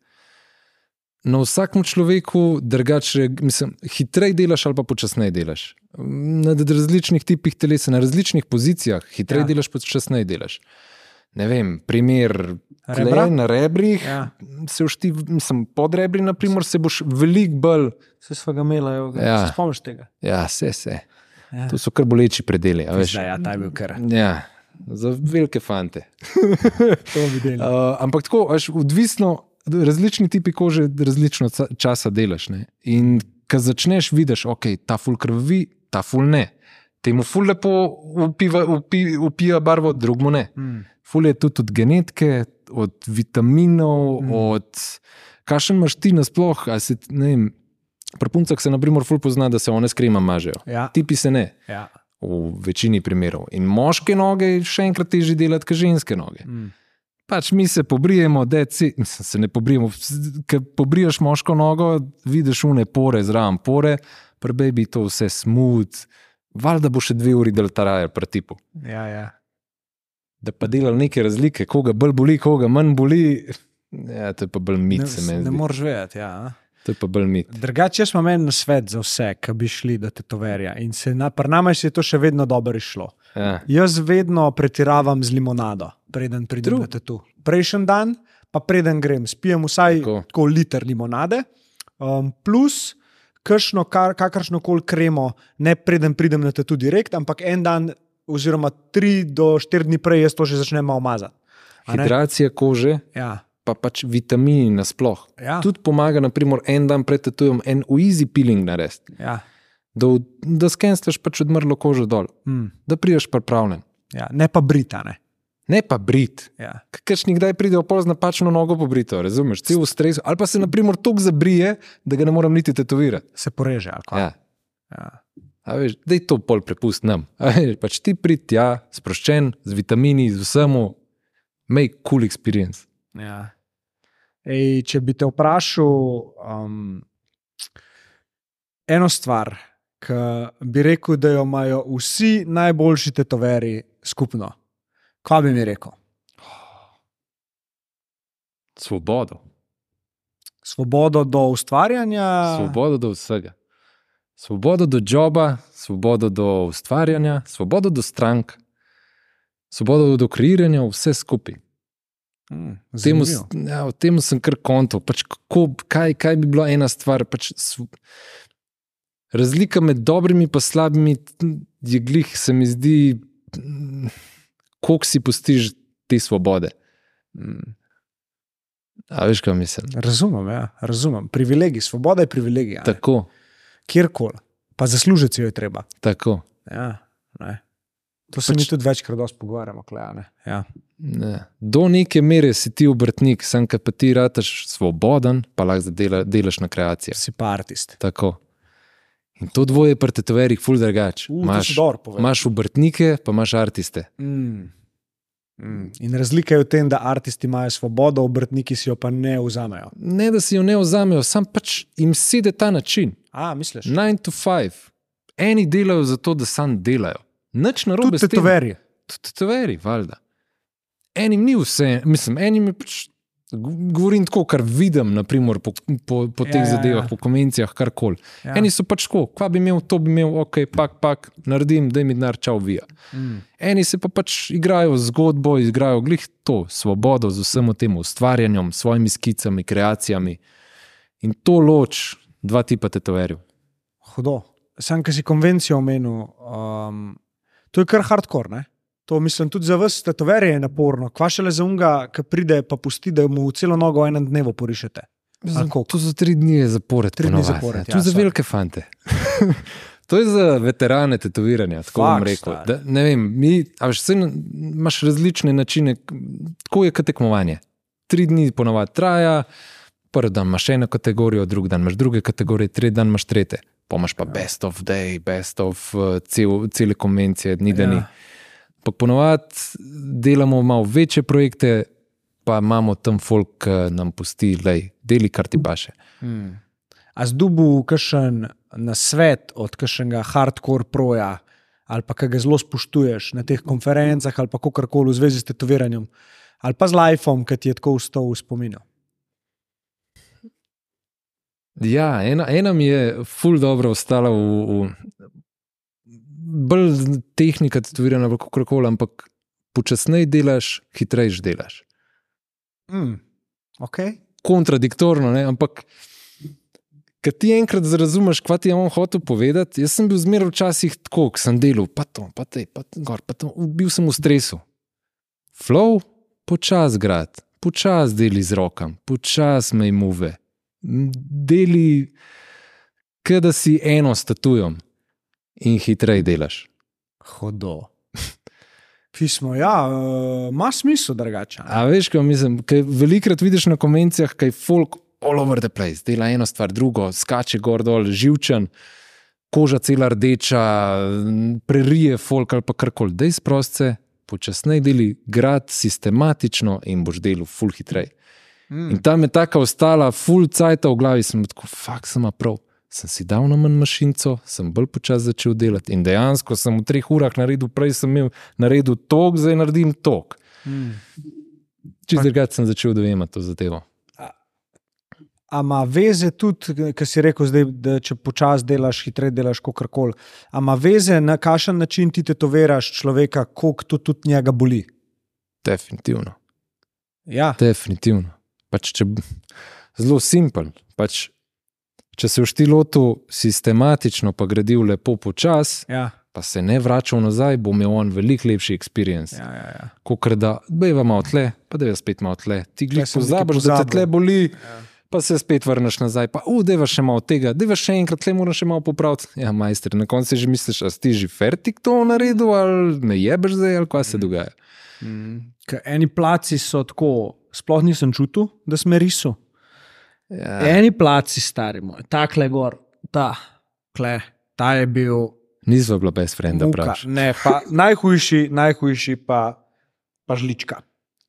Na vsakem človeku drugače, mislim, hitreje delaš ali pa počasneje delaš. Na d- različnih tipih telesa, na različnih pozicijah, hitreje Ja. ja. delaš, počasneje delaš. Ne vem, primer, Rebra? tle, na rebrih, Ja. ja. se všti, mislim, pod rebri, naprimer, se boš veliko bolj, Se sva ga imela, evo ga. Ja. Se spomniš tega. ja, se se. Ja. Ja. To so kar boleči predeli, a veš. Zdaj, ja, ta je bil kar. Ja, za velike fante. To videl. Uh, ampak tako, veš, odvisno, različni tipi kože, različno ca- časa delaš. Ne? In ko začneš, vidiš, ok, ta ful krvi, ta ful ne. Temu ful lepo upiva, upi, upija barvo, drugmu ne. Mm. Ful je tudi od genetike, od vitaminov, Mm. mm. od kakšen imaš ti nasploh. a Se, ne vem, Pri puncah se, na primer, ful pozna, da se one s krema mažejo. Ja. Tipi se ne, Ja. v večini primerov. In moške noge je še enkrat težje delati, kot ženske noge. Mm. Pač mi se pobrijemo, deci, mislim, se ne pobrijemo. Ker pobriješ moško nogo, vidiš une pore, zraven pore, prebebi to vse smut. Valjda bo še dve uri del tarajal pri tipu. Ja, ja. Da pa delal neke razlike, koga bolj boli, koga manj boli. Ja, to je pa bolj mit, se ne, meni. ne zdi. moreš vedeti. Ja. To je pa bolj mit. Drugače, jaz imam en svet za vse, ki bi šli do tetoverja. In se na, pri nama se je to še vedno dobro išlo. Ja. Jaz vedno pretiravam z limonado, preden pridem True. na tatu. Prejšnji dan, pa preden grem, spijem vsaj tako, Tako. tako liter limonade, um, plus kakšno, kar, kakršno koli kremo, ne preden pridem na tatu direkt, ampak en dan, oziroma tri do štiri dni prej, jaz to že začnem malo mazati. A ne? Hidracija kože, Ja, pa pač vitamini nasploh. ja, Tudi pomaga, naprimer, en dan pred tatujem en easy peeling narediti, ja, da, v- da skenstaš pač odmrlo kožo dol, mm, da priješ pripravljen. ja, ne pa britane. Ne pa brit. Ja. Ker nekdaj pride opor z napačno nogo pobrito, razumeš, cel v stresu. Ali pa se, na primer, tok zabrije, da ga ne morem niti tetovirati. Se poreže. ali kaj. Ja. Ja. A veš, da je to pol prepust nam. A Veš, pač ti prid tja, sproščen, z vitamini, z vsem, make cool experience. Ja. Ej, če bi te vprašal um, eno stvar, ki bi rekel, da jo imajo vsi najboljši tetoveri skupno, kaj bi mi rekel? Svobodo. Svobodo do ustvarjanja. Svobodo do vsega. Svobodo do joba, svobodo do ustvarjanja, svobodo do strank, svobodo do kreiranja, vse skupaj. Mm, Temu, zanimivo. s- ja, v tem sem kar kontal. Pač kako, kaj, kaj bi bila ena stvar? Pač sv... Razlika med dobrimi in slabimi t- je glih, se mi zdi, mm, koliko si postiž te svobode. Hmm. Mm, A veš, kaj mislim? razumem, ja, razumem. Privilegij, svoboda je privilegij, a ne? Tako, kjerkoli, pa zaslužiti jo je treba. tako. Ja, ne. to se Pač- mi tudi večkrat dosti pogovarjamo. Kle, a ne? ja. Ne. Do neke mere si ti obrtnik, sam ki pa ti rataš svoboden, pa lahko dela, delaš na kreacijah. Si pa artist. Tako. In to dvoje je pri tetoverjih ful drugače. Umaš, Imaš obrtnike, pa imaš artiste. Mm. In razlika je v tem, da umetniki imajo svobodo, obrtniki si jo pa ne vzamejo. Ne, da si jo ne vzamejo, sam pač jim sedi ta način. A, misliš? 9 to 5. Eni delajo zato, da sam delajo. Nič narobe Tudi s tem. tetoveri. Tudi toveri, valjda. Enim ni vse, mislim, enim je pač. gov- Govorim tako, kar vidim, naprimer, po, po, po Ja, teh ja, ja. zadevah, po konvencijah, karkoli. Ja. Ja. Eni so pač tako, kva bi imel, to bi imel, ok, pak, pak, naredim, da mi denar čau vija. Mm. Eni se pa pač igrajo z zgodbo, igrajo glih to, svobodo z vsem tem ustvarjanjem, s svojimi skicami, kreacijami. In to loč dva tipa tetoverjev. Hudo. Sam, ki si konvencijo omenil, um, to je kar hardcore. Ne? To mislim tudi za vas, tetoverje je naporno. Kvašele za unga, ki pride, pa pusti, da mu celo nogo v enem dnevu porišete. Za, A koliko? to za tri dni je zapored. Tri dni ponavadi, zapored, ne. To ja, je za sorry. velike fante. to je za veterane tetoviranja, tako Fak, bom rekel. stari. Da, ne vem, mi, a veš, saj na- imaš različne načine, k- tako je kot tekmovanje. Tri dni ponavadi traja, prvi dan imaš eno kategorijo, drugi dan imaš druge kategorije, tretji dan imaš trete. Pa imaš Ja. pa best of day, best of eh, cel, cele konvencije, dni da ni. Ja. Ja. Pa ponovadi delamo malo večje projekte, pa imamo tam folk, ki nam pusti, da deli kar ti paše. Mm. A zdubu kakšen nasvet od kakšnega hardcore proja, ali pa ki ga zelo spoštuješ na teh konferencah, ali pa kako koli v zvezi s tetoviranjem, ali pa z lifeom, ki ti je tako vstal v spominu. Ja, ena, ena mi je ful dobro ostala v, v bolj z- tehnika tetoviranja, bolj kako koli, ampak počasneje delaš, hitrejš delaš. Mm. Okay. Kontradiktorno, ne? ampak. Ker ti enkrat razumeš, kaj ti je on hotel povedati, jaz sem bil zmeraj včasih tako, ko sem delal, pa to, pa te, pa t- gor, pa to, bil sem v stresu. Flow, počasi grad, počasi deli z rokami, počasi mej muve, M, deli, kot da si eno statujem in hitreje delaš. Hodo. Pismo, ja, eh, ima uh, smisel drugače. A veš, kaj mislim, kaj velikrat vidiš na konvencijah, kaj je folk all over the place, dela eno stvar, drugo, skače gor dol, živčen, koža cela rdeča, n- prerije folk ali pa karkoli, dej sprostce, počasneje deli, grad sistematično in boš delal ful hitreje. Mm. In tam je taka ostala, full cajt v glavi, sem tako, fakt sem a prav. Sem si dal na manj mašinco, sem bolj počasi začel delati in dejansko sem v treh urah naredil, prej sem imel naredil tok, zdaj naredim tok. Mm. Čisto drugače sem začel dojemati to zadevo. A ima veze tudi, kar si rekel, zdaj, da če počasi delaš, hitreje delaš, kako koli. A ima veze, na kakšen način ti tetoviraš človeka, koliko to tudi njega boli. Definitivno. Ja, Definitivno. Pač, če, b- zelo simpel. Pač, če se boš ti lotil sistematično, pa gradil lepo počasi, ja, pa se ne vračal nazaj, bo imel on veliko lepši experience. ja. ja, ja. kot da beva malo tle, pa da je spet malo tle. Ti glej, sem pozabiš, nekaj da te pozabil. tle boli, ja. pa se spet vrneš nazaj. Pa, u, deva še malo tega, deva še enkrat, tle moraš še malo popraviti. Ja, majster, na koncu si že misliš, a si ti že fertik to naredil, ali me jebeš zdaj, ali kaj se dogaja. Ker Eni placi so tako, sploh nisem čutil, da sem risal. Ja. Eni placi, stari moj, takle gor, ta, kle, ta je bil. Nisva bila brez frenda, Muka. praviš. Ne, pa najhujši, najhujši pa, pa žlička,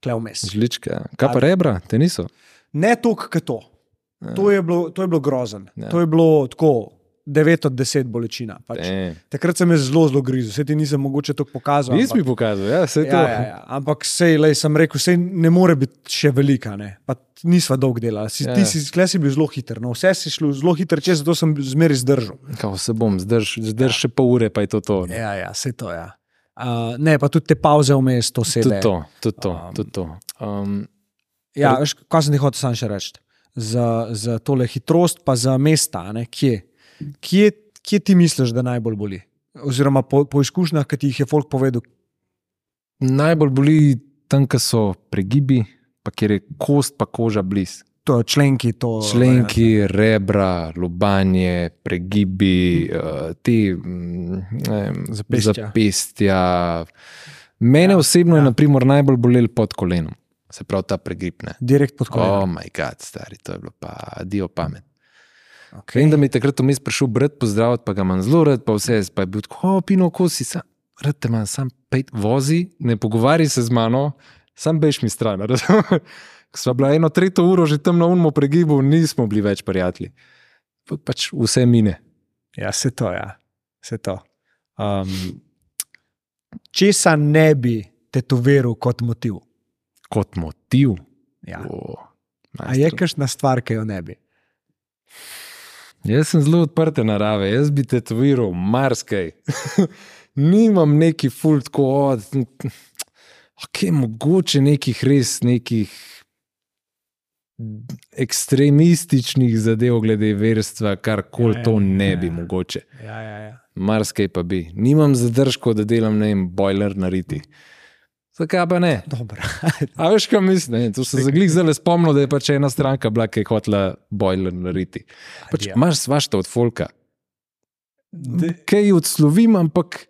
klevmes. Žlička. Kaj pa rebra, te niso? Ne toliko, kot to. To je bilo, to je bilo grozen. Ja. To je bilo tako 9 od 10 bolečina. Pač. Damn. Takrat sem jaz zelo, zelo grizel, se ti nisem mogoče to pokazal. Jaz bi ampak- pokazal, ja, se to. Ja, ja, ja. Ampak sej, lej, sem rekel, sej ne more biti še velika, ne. pa t- nisva dolg delala. Si, Ja, ti ja. si, tukaj si bil zelo hiter, no. vse si šlo zelo hiter, če zato sem zmeraj zdržal. Kao se bom, zdrž, zdrž še pol ure, pa je to to. ne. Ja, ja, se to je. Ja. Uh, ne, pa tudi te pauze vmes, to se Tudi to, tudi to. Um, Tudi to. Um, Ja, veš, kaj sem ti hotel sam še reči? Za, za tole hitrost, pa za mesta, a ne, kje. Kje, kje ti misliš, da najbolj boli? Oziroma, po, po izkušnjah, ki ti jih je folk povedal, Najbolj boli tam, kjer so pregibi, pa kjer je kost, pa koža blizu. to je členki, to ja, Členki, rebra, lobanje, pregibi, eh, te mm, ne vem, Hm. Zapestja. zapestja. Mene Ja, ja, osebno ja. je ja. naprimer, najbolj bolel pod kolenom, se pravi ta pregrip. Ne? direkt pod O, kolom. moj bog, Oh stari, to je bilo pa dio pamet. Oh, Okay. Vem, da mi je takrat vmes prišel brat pozdraviti, pa ga imam zelo rad, pa vse, jaz pa je bil tako, opino, ko si sam. rad imam, sam pej, vozi, ne pogovarjaj se z mano, sam bež mi stran. razumeš? Ko sva bila eno tretjo uro že tam na unmo pregibu, nismo bili več prijatelji. Pa- Pač vse mine. Ja, se to, ja. Se to. Um, česa ne bi tetoviral kot motiv? Kot motiv. Ja. O, A je majster. kakšna stvar, ki jo ne bi? Jaz sem zelo odprte narave, jaz bi tetoviral marsikaj. Nimam neki fult ko od. Ok, mogoče nekih res nekih ekstremističnih zadev, glede verstva, kar koli Ja, ja, to ne bi ja. mogoče. Ja, ja, ja. Marsikaj pa bi. Nimam zadržkov, da delam ne vem, bojler nariti. Zakaj pa ne? Dobro. A veš, kaj mislim? Ne, to se za glih zelo spomnil, da je pač ena stranka bila, ki je hotela bojler nariti. Pač Ja. imaš svašta od folka. Kaj odslovim, ampak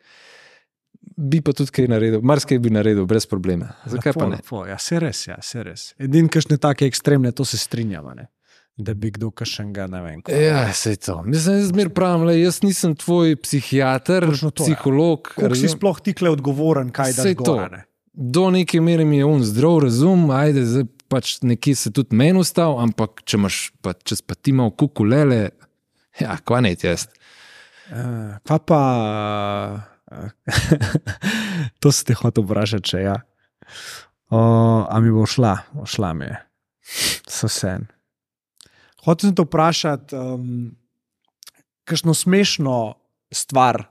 bi pa tudi kaj naredil, marsikaj bi naredil, brez problema. Zakaj lepo, pa ne? Lepo. Ja, se res, ja, se res. Edin, kakšne take ekstremne, to se strinjava, ne? da bi kdo kašnega, ne vem. ko- Ja, se je to. Mislim, jaz zmer pravim, le, jaz nisem tvoj psihiater, Točno to, ja. psiholog. Kako si razumem? sploh tikle odgovoren, kaj da Saj to. zgora, ne? do neke mere mi je on zdrav razum, ajde, zdaj pač nekje se tudi meni ustavil, ampak če imaš pa, če si pa ti malo kukulele, ja, kvanet jaz. Uh, pa pa. Uh, to si te hotel vprašati, če ja. Uh, a mi bo šla, šla mi je. Sosen. Hotel sem te vprašati, um, kakšno smešno stvar,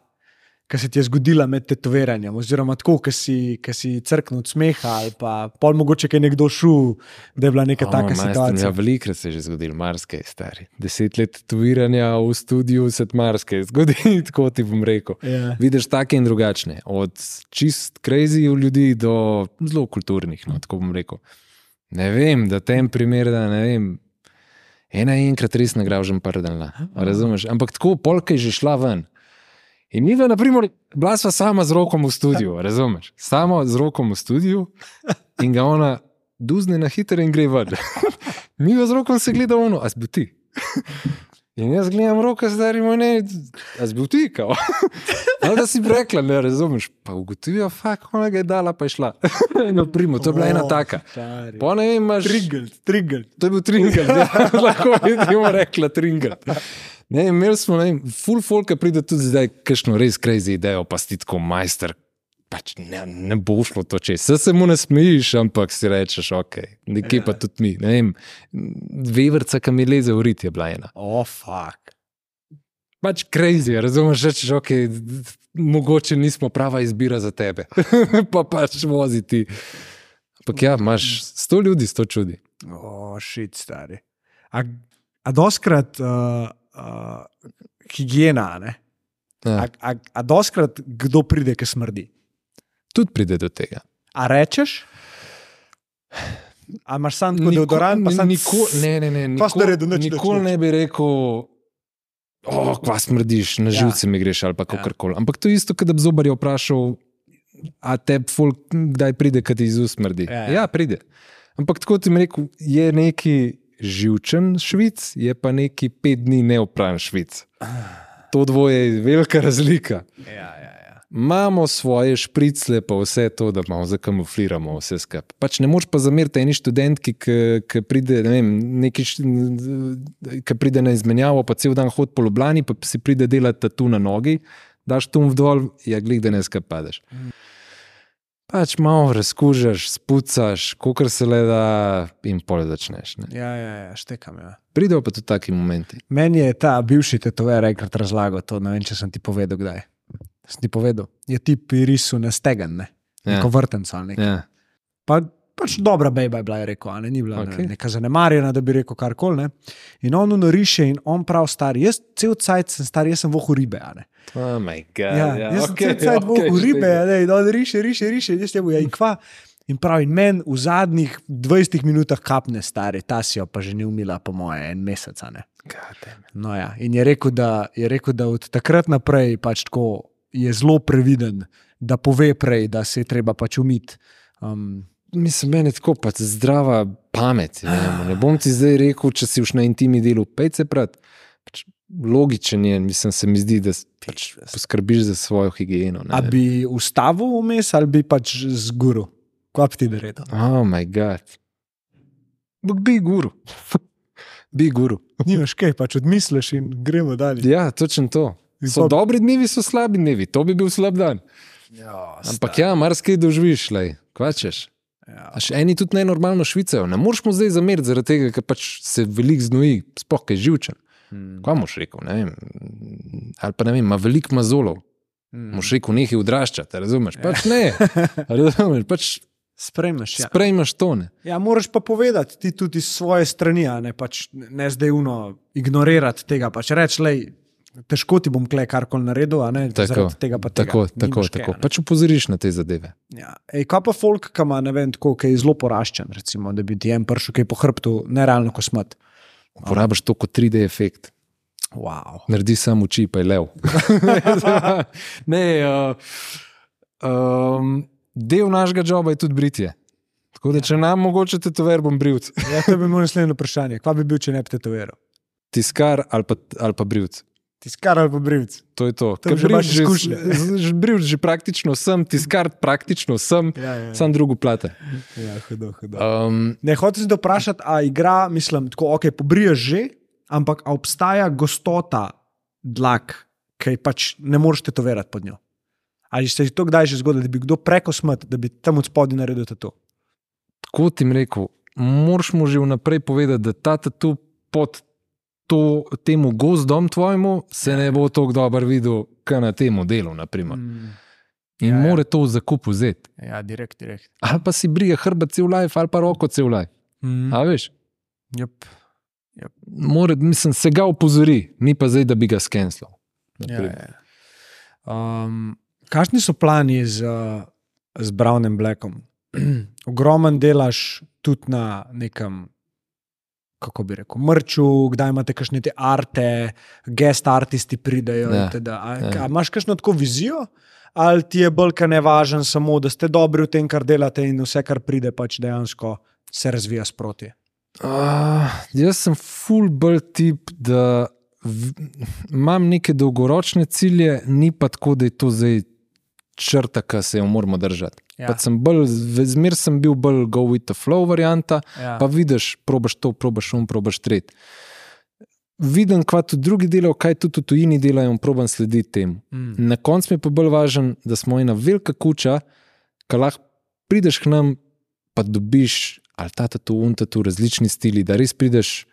ki se ti je zgodila med tetoviranjem, oziroma tako, ki si, ki si crknil od smeha, ali pa pol mogoče, ki je nekdo šul, da je bila neka O, taka majster, situacija. Ja, velikrat se je že zgodil, marsikaj stari. Deset let tuiranja v studiu se ti marsikaj zgodi, tako ti bom rekel. Ja. Vidiš take in drugačne, od čist crazy ljudi do zelo kulturnih, no, tako bom rekel. Ne vem, da tem primer, da ne vem. Ena je enkrat res nagražen prdela, razumeš? Ampak tako polka je že šla ven. In mi, na primer, bila sva sama z rokom v studiu, razumeš? Samo z rokom v studiu in ga ona duzne na hitro in gre ven. mi pa z rokom se gleda ono, a zbil ti. In jaz gledam roke, zdaj jim ne, a zbil ti, kao. Ali da si bi rekla, ne razumeš, pa ugotovijo, fak, ona ga je dala, pa je šla. No, primo, to je bila ena taka. Po ne vem, imaš. Trigel, trigel. To je bil tringel, ja. lahko vidimo, rekla tringel. Ne, imeli smo, ne vem, full folk, pride tudi zdaj, kakšno res crazy idejo, pa si ti tako majster. Pač ne, ne bo šlo to čez. Vse se mu ne smejiš, ampak si rečeš, ok, nekje pa tudi mi. Ne vem, veverca, ki mi leze v rit, je bila ena. O, oh, fuck. Pač crazy, razumeš, rečeš, ok, mogoče nismo prava izbira za tebe, pa pač voziti. Ampak ja, imaš sto ljudi, sto čudi. O, šit, stari. A, a doskrat uh, uh, higiena, a ne? Ja, A, a, a doskrat kdo pride, ki smrdi? tudi pride do tega. A rečeš? A imaš sam tako Nikol- deodorant, pa ni- sam nikol- ne, ne, ne, Pa si nikol- naredil, nič, nič, nikoli nič. ne bi rekel, oh, kva smrdiš, na Ja. živce mi greš ali pa kakorkoli. Ampak to je isto, kot da bi zobar je vprašal, a te folk hm, kdaj pride, kad ti iz ust smrdi. Ja, Ja, ja. ja. ja, pride. Ampak tako ti mi rekel, je neki živčen švic, je pa neki pet dni neopran švic. To dvoje je velika razlika. Ja, ja, ja. Imamo svoje špricle, pa vse to, da malo zakamufliramo, vse skupaj. Pač ne moš pa zameriti eni študentki, ki- ki pride, ne vem, neki št- ki pride na izmenjavo, pa cel dan hod po Ljubljani, pa si pride delati tatu na nogi, daš tum v dol, ja, glej, da ne skapadeš. Pač malo razkužaš, spucaš, kukar se le da, in pole začneš. Ne. ja, ja, ja štekam. Ja. Pridejo pa tudi taki momenti. Meni je ta bivši tetover enkrat razlagal to, ne vem, če sem ti povedal kdaj. Sem ti povedal, je ti pirisu na stegen, ne? Ja. Neko vrtenco ali nekaj. Ja. Pa, pač dobra bejba je bila, je rekel, a ne, ni bila okay. Okej. ne, neka zanemarjena, da bi rekel karkoli. ne. In on nariše in on prav star, jaz cel cajt sem star, jaz sem vohu ribe. a ne. Oh my god. Ja, ja, jaz okay, sem cel cajt okay, vohu ribe, ja. a ne, in on riše, riše, riše, jaz temu je ikva. In pravi, meni v zadnjih 20 minutah kapne stari, ta si jo pa že ni umila, po moje, en mesec. a ne. No ja. In je rekel, da, je rekel, da od takrat naprej pač tako je zelo previden, da pove prej, da se je treba pač umiti. Um, Mislim, meni je tako pač zdrava pamet. je, Ne, ne bom ti zdaj rekel, če si už na intimni delu, pej se prat. Pač logičen je, mislim, se mi zdi, da s- pač poskrbiš za svojo higieno. A Ne? bi ustavil vmes ali bi pač zgoril? Kaj bi ti naredil? Oh, moj bog. Bi guru. Bi guru. Nimaš kaj, pač odmisliš in gremo dalje. Ja, točno to. So Dobro. dobri dnevi, so slabi dnevi, to bi bil slab dan. Ampak ja, marsikaj doživiš, lej, kvačeš. Ja. A še eni tudi ne normalno švicajo, ne moreš mu zdaj zameriti, zaradi tega, ker pač se veliko znoji, spoh je živčen. Hmm. Kaj moš rekel? Ne vem, ali pa ne vem, ima veliko mazolov. Moš rekel, nehaj odraščati, a razumeš? Pač ne, a razumeš, pač Spremljaš. Ja. sprejmeš tone. ja, moraš pa povedati, ti tudi iz svoje strani, a ne, pač, ne zdaj uno ignorirati tega. Pač reči, lej, težko ti bom kle karkoli naredil, a ne Tako, zaradi tega pa tega. tako, tako. Nimaš kaj, tako. a ne. Pač upozoriš na te zadeve. Ja. Ej, kaj pa folk, ki ima, ne vem, tako, ki je zelo poraščen, recimo, da bi ti en pršil, ki je po hrbtu, nerealno kosmat. Uporabiš to kot 3D efekt. Wow. naredi samo oči, pa je lev. ne, uh, um, del našega joba je tudi britje. Tako da, če nam mogoče tetover, bom brivc. Ja, to bi bilo naslednje vprašanje. Kaj bi bil, če ne bi tetoviral? Tiskar ali pa, ali pa brivc. Tiskar ali pa brivc. To je to. To je že brivc vaše izkušnje. z- z- brivc že praktično sem, tiskar praktično sem, Ja, ja, sam drugo plate. ja hudo, hudo. Um, Ne, hotel sem te vprašati, a igra, mislim, tako, ok, pobriješ že, ampak a obstaja gostota dlak, ki pač ne moreš tetovirati pod njo. Ali se je to kdaj že zgodilo, da bi kdo preko smrt, da bi tam od spodaj naredil to? kot jim rekel, moraš mu že vnaprej povedati, da ta tatu pod to, temu gozdom tvojemu se ne bo tako dobro videl, kot na tem delu. naprimer. In Mm. Ja, ja, ja. more to v zakup vzeti. Ja, direkt, direkt. ali pa si brije hrbet cel life, ali pa roko cel life. Mm. A veš, Yep. More, mislim, se ga opozori, ni pa zdaj, da bi ga skenslal. Ja, ja. Um, kakšni so plani z, uh, z Brownem Blackom? Ogromen delaš tudi na nekem, kako bi rekel, mrču, kdaj imate kakšne te arte, gest artisti pridejo. Ja, Ja, teda, a, ja. ja. a imaš kakšno tako vizijo? Ali ti je bolj kaj nevažen samo, da ste dobri v tem, kar delate, in vse, kar pride, pač dejansko se razvija sproti? Uh, jaz sem full bolj tip, da v, imam neke dolgoročne cilje, ni pa tako, da je to zdaj črta, ki se jo moramo držati. Ja. Sem bolj, z- zmer sem bil bolj go with the flow varianta, ja. Pa vidiš, probaš to, probaš um, probaš tret. Vidim, kva tudi drugi delajo, kaj tudi v tujini delajo, in probam slediti temu. mm. Na koncu mi je pa bolj važno, da smo ena velika kuča, ki lahko prideš k nam, pa dobiš ali ta tu, un tu, različni stili, da res prideš,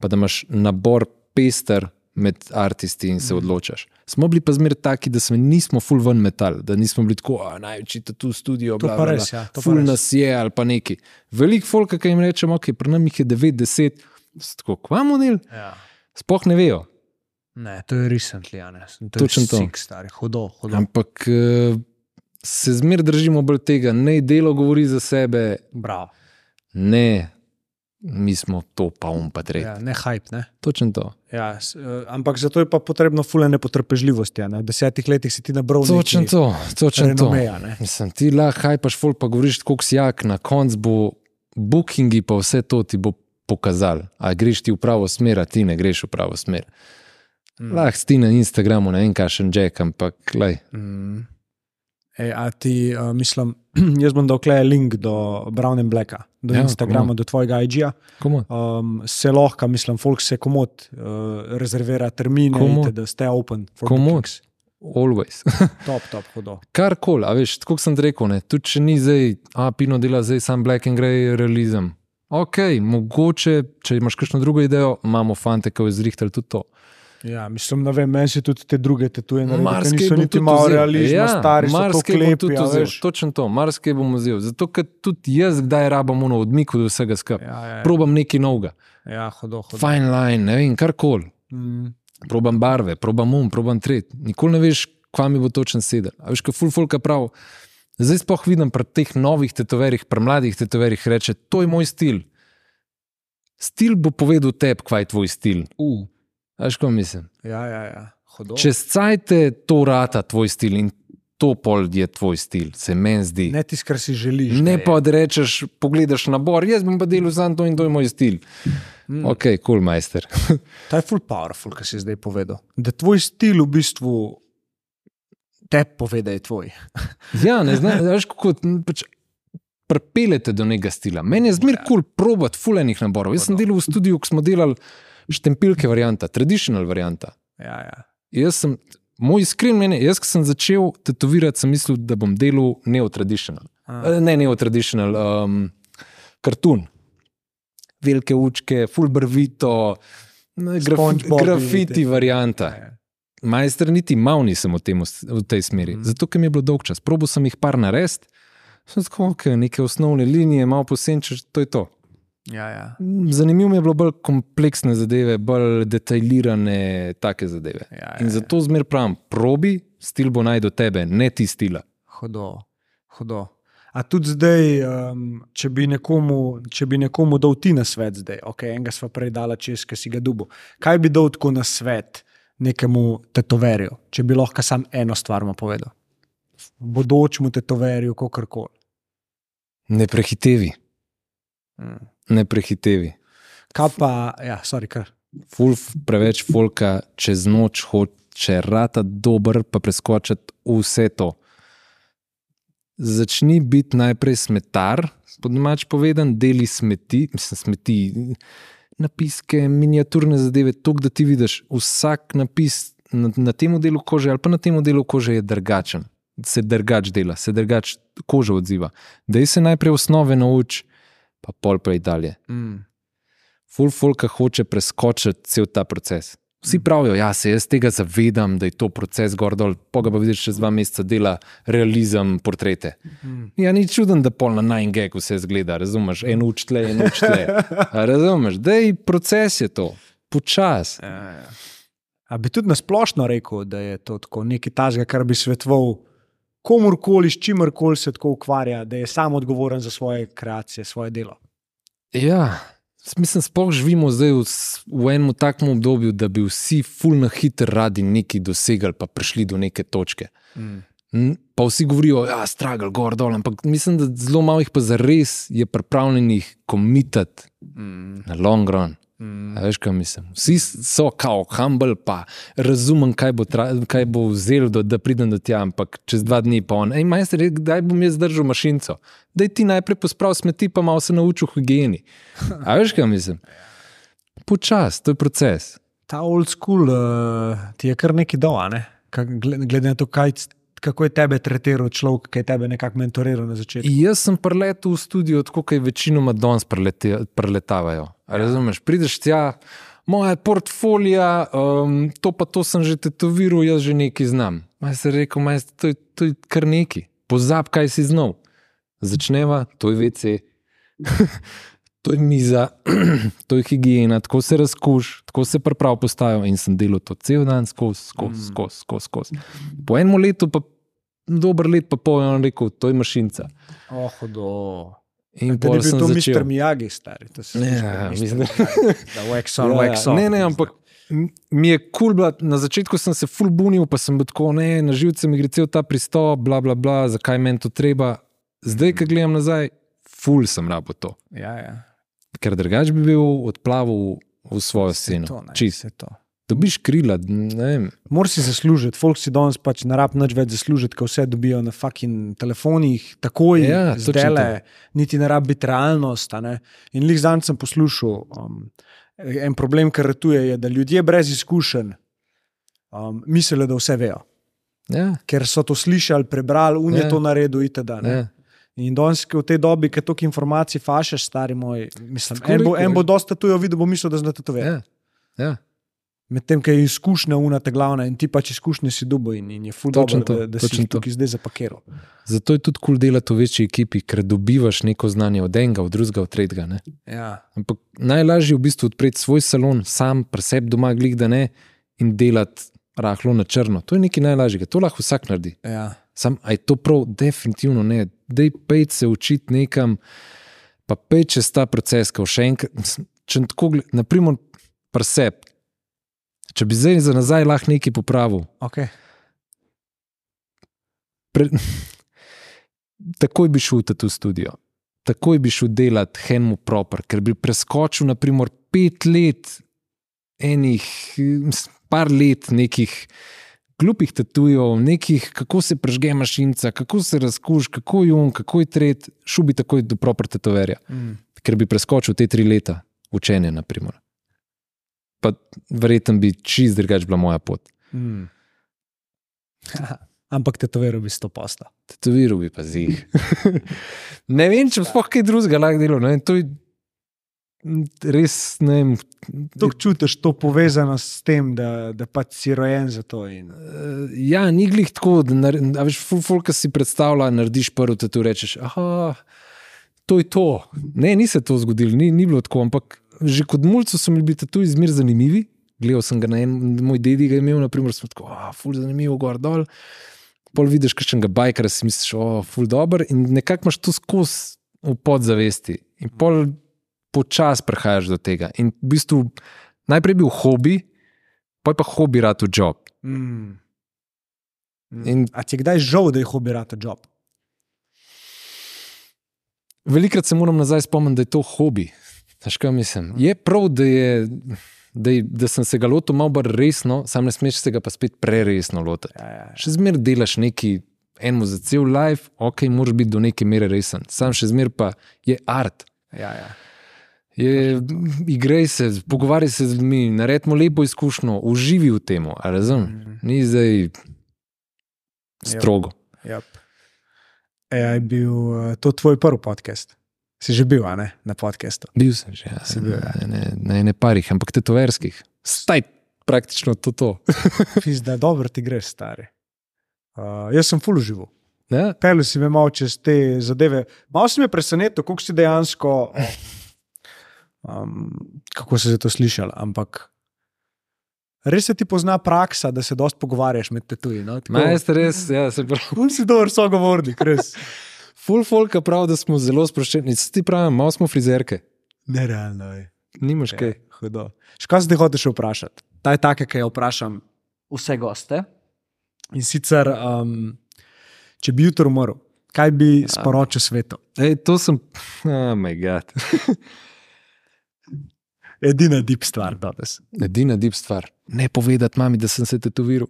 pa da imaš nabor pester med umetniki in se Mhm. odločaš. Smo bili pa zmeraj taki, da smo nismo full ven metal, da nismo bili tako, "A, največji tu studio, To bla, pa bla, res, bla." ja, to pa ful res. nas je ali pa neki. Veliko folk, ki jim rečemo, ok, pri nam jih je 9-10, tako kvamo del, ja. spoh ne vejo. Ne, to je recently, a ne. To Točno to. Sik, stari, hudo, hudo. Ampak eh, se zmeraj držimo bolj tega, ne delo govori za sebe, Bravo. ne, mi smo to, pa um, pa trej. Ja. Ja, ne hype. Ne? Točno to. Ja, s, eh, ampak zato je pa potrebno fulejne potrpežljivosti. a Ne? V desetih letih si ti nabral Točno to, točno to. renomeja. Ne? Mislim, ti lahko hajpaš, fol pa govoriš, kako si jak, na koncu bo bookingi, pa vse to ti bo pokazal. A greš ti v pravo smer, a ti ne greš v pravo smer. Mm. Lahko si ti na Instagramu, ne vem, kašen jack, ampak lej, Mm. Ej, a ti, uh, mislim, jaz bom dal klej link do Brown and Blacka, do Ja, ja, Instagrama, komot. do tvojega IG-ja. komu. Um, se lahko, mislim, folk se komod uh, rezervira termine, Komot. da ste open. for Komot. bookings. Always. Top, top, hudo. Kar koli, a veš, tako kot sem ti rekel, ne, tudi če ni zdaj, a pino dela zdaj sam black and grey realizem. Ok, mogoče, če imaš kakšno drugo idejo, imamo fante, ki jo zrihtali tudi to. Ja, mislim, ne vem, meni se tudi te druge tetuje na Marsikaj Niso bom niti tudi malo vzel. realizma, ja, stari so marsikaj bom tudi vzel. klepi. Točno to, marsikaj bom vzel. Zato, ker tudi jaz kdaj rabam ono odmik od vsega skupaj. Ja. Ja, ja, Probam nekaj novega, ja, hodo, hodo. fine line, ne vem, kar koli. Mm. probam barve, probam um, probam tret. Nikoli ne veš, kva mi bo točen sedel. A veš, kaj full folka prav. Zdaj spoh vidim pri teh novih tetoverjih, pri mladih tetoverjih, reče: To je moj stil. Stil bo povedal tebi, kva je tvoj stil. Uh. A Veš, kaj mislim. Ja, ja, ja. Hodo. Čez cajte to rata tvoj stil in to pol je tvoj stil, se meni zdi. Ne tisti, kar si želiš. Ne da pa da rečeš, pogledaš nabor, jaz bom pa delal samo to in to je moj stil. Hm. Ok, kul, cool, majster. To Mm. je full powerful, kar si zdaj povedal. Da tvoj stil v bistvu te pove, da je tvoj. ja, ne znaš, veš, kako n- pač pripeljete do nekega stila. Meni je zmerno kul cool probat fulejnih naborov. Jaz sem delal v studiu, ko smo delali štempilke varianta, traditional varianta. Ja, ja. Jaz sem, moj iskren meni, jaz, ko sem začel tetovirati, sem mislil, da bom delal neotraditional. A. Eh, Ne neotraditional, um, kartun. Velike učke, fulbrvito, SpongeBob grafiti vidite. varianta. Ja, ja. Majster niti mal nisem v, tem, v tej smeri, mm. zato ker mi je bilo dolg čas. Probo sem jih par narediti, sem tako, okay, neke osnovne linije, malo posenčeš, to je to. Ja, ja. Mm, Zanimivo mi je bilo bolj kompleksne zadeve, bolj detaljirane take zadeve. Ja, ja, In zato zmer pravim, probi, stil bo naj do tebe, ne ti stila. Hodo, hodo. A tudi zdaj, um, če, bi nekomu, če bi nekomu dal ti na svet, zdaj, ok, enega sva prej dala čez, ki si ga dubo. Kaj bi dal tako na svet nekemu tetoverju, če bi lahko sam eno stvar mu povedal? Bodočemu tetoverju, kako koli. Ne prehitevi, Mm. ne prehitevi. Kaj pa, ja, sorry, kar. Ful, preveč folka čez noč hoče rata dober, pa preskočiti vse to. Začni biti najprej smetar, po domač povedan, deli smeti, mislim, smeti, napiske, miniaturne zadeve, to, da ti vidiš, vsak napis na, na tem delu kože ali pa na tem delu kože je drugačen. Se drugač dela, se drugač koža odziva. Dej se najprej osnove nauči, pa pol prej dalje Mm. full folka hoče preskočiti cel ta proces. Vsi pravijo, ja, se jaz tega zavedam, da je to proces gor dol, pa ga pa vidiš čez dva meseca dela realizem, portrete. Mm. Ja, ni čuden, da pol na najn geg vse zgleda, razumeš, en uč tle, en uč tle. A Razumeš, da je proces je to, počas. Ja, ja. A bi tudi nasplošno rekel, da je to tako nekaj tazga, kar bi svetoval komorkoli, s čimerkoli se tako ukvarja, da je sam odgovoren za svoje kreacije, svoje delo. Ja, s- mislim, sploh živimo zdaj v, s- v enem takem obdobju, da bi vsi fulno hitro radi nekaj dosegali, pa prišli do neke točke. Mm. N- Pa vsi govorijo, da je stragal, gor dol, ampak mislim, da zelo malo jih pa za res je pripravljenih komitati Mm. na long run. Mm. A veš, kaj mislim? Vsi s- so kao humble, pa razumem, kaj bo, tra, kaj bo vzel, do, da pridem do tja, ampak čez dva dni pa on. Ej, majster, je, kdaj bom jaz držal mašinco? Da ti najprej pospravi smeti, pa malo se naučil higieni. A veš, kaj mislim? Počas, to je proces. Ta old school uh, ti je kar nekaj dol, a ne? Ka- gle- glede na to, kaj, c- kako je tebe tretiral človek, ki je tebe nekako mentoriral na začetku. Jaz sem preletel v studio, tako kot večinoma danes prelete- preletavajo. Ja. Razumeš, prideš tja, moja portfolija, um, to pa to sem že tetoviral, jaz že nekaj znam. Maj se rekel, maj, to, je, to je kar neki, pozab, kaj si znal. Začneva, to je VC, to je miza, to je higiena, tako se razkuš, tako se prav postajo. In sem delal to cel dan, skozi, skozi, skozi, skozi. skozi. Po enem letu, pa dober let, pa pol, je on rekel, to je mašinca. Oh, do. In Da pol ni bil sem to začel. mister Miyagi, stari. To si Ne, slišal, ja, Mr. mislim, da- Miyagi, da wax on, Ja, wax ja. on. Ne, ne, ampak m- mi je kul, cool, na začetku sem se ful bunil, pa sem bil tako, ne, na živce mi gre cel ta pristop, bla, bla, bla, zakaj meni to treba. Zdaj, Mhm. ko gledam nazaj, ful sem rabo to, Ja, ja. ker drugače bi bil odplaval v svojo Saj sceno. To, ne, Čist. saj to. Dobiš krila, ne vem. Moraš si zaslužiti, folk si danes pač ne rab nič več zaslužiti, ker vse dobijo na fucking telefonih, takoj, Ja, ja, točno zdele, niti ne rab biti realnost. a ne. In lih zanj sem poslušal. Um, en problem, kar ratuje, je, da ljudje brez izkušenj um, mislijo, da vse vejo, Ja, ker so to slišali, prebrali, un je Ja. to naredil, itd. Ne. ja. In danes ko v tej dobi, ki toliko informacij fašeš, stari moj, mislim, Tako en bo, rekel, en bo ja. dosta tujo videl, bo mislil, da zna to vedeti. ja. ja. Medtem, ki je izkušnja unata glavna in ti pač izkušnje si dubo in, in je Točno fuldočen, to, da, da si točno jih to. tukaj zdaj zapakiral. Zato je tudi kul cool delati v večji ekipi, ker dobivaš neko znanje od enega, od drugega, od tretjega. Ne? Ja. Ampak najlažje je v bistvu odpreti svoj salon, sam, preseb doma, glih da ne, in delati rahlo na črno. To je nekaj najlažjega, to lahko vsak naredi. Ja. Sam, a je to prav, definitivno ne. Dej pejt se učiti nekam, pa pejt čez ta proces, ki še enkrat. mislim, Če tako, gled- naprimer, preseb. Če bi zdaj za nazaj lahko nekaj popravil, Okay. takoj bi šel v ta studio, takoj bi šel delati hemu proper, ker bi preskočil naprimer, pet let, enih, eh, s- par let nekih glupih tatujev, nekih, kako se prežge mašinca, kako se razkuš, kako je on, kako je tret, šel bi takoj do propr tetoverja, Mm. ker bi preskočil te tri leta učenja, naprimer. Pa verjetno bi čist drugač bila moja pot. Mm. Ampak tetoviral bi sto posta. Tetoviral bi pa zih. ne vem, če bi sploh kaj drugega lahko delal. ne vem, To je m, res, ne vem. To čutiš to povezanost s tem, da, da pač si rojen za to. In... Eh, Ja, ni glih tako, da nar- a veš, ful, ful, ki si predstavlja, narediš prvo, da tu rečeš, ah, to je to. Ne, ni se to zgodilo, ni, ni bilo tako, ampak že kot mulcu so mi bili tu izmer zanimivi. Gledal sem ga na enem, moj dedi ga je imel, naprimer, smo tako, ah, ful, zanimivo, gor dol. Pol vidiš kakšnega bajkara, si misliš, o, ful, dober in nekako imaš to skozi v podzavesti. In pol počasi prihajaš do tega. In v bistvu najprej je bil hobi, pa je pa hobi rad v job. Mm. In A ti je kdaj žal, da je hobirata job? Velikrat se moram nazaj spomniti, da je to hobi. Znaš, kaj mislim? Je prav, da, je, da, je, da sem se ga lotil malo bolj resno, sam ne smeš se ga pa spet preresno lotiti. Ja, ja. Še zmeraj delaš neki enemu za cel life, ok, moraš biti do neke mere resen. Sam še zmeraj pa je art. ja, ja. Je, igraj se, pogovarjaj se z ljudmi, naredimo lepo izkušnjo, uživi v tem, Mm, razumem. Ni zdaj strogo. Yep. Ja, je bil eh, to tvoj prvi podcast. Si že bil, a ne, na podkastu. Bil sem že, ja, Si bil, ja. ne, ne, ne, ne parih, ampak tetoverskih. Staj, praktično to. to. Pizda, dobro ti greš, stari. Uh, jaz sem full živel. Ne? Pelu si me malo čez te zadeve. Malo si me presenetil, kako si dejansko. Um, kako se je to slišalo, ampak res se ti pozna praksa, da se dosti pogovarjaš med tetuji. No? Tako, Ma, jaz res, ja, se pravi. Ful si dober sogovornik, res. Full folka pravi, da smo zelo sproščeni. Saj Ti pravi, malo smo frizerke. Nerealno je. Nimaš Okay. kaj. Hudo. Še kaj si ti hočeš vprašati? Ta je taka, ki jo vprašam vse goste. In sicer, um, če bi jutro umrl, kaj bi sporočil svetu? Ej, to sem. Oh, moj bog. Edina dip stvar danes. Edina dip stvar. Ne povedati mami, da sem se tetoviral.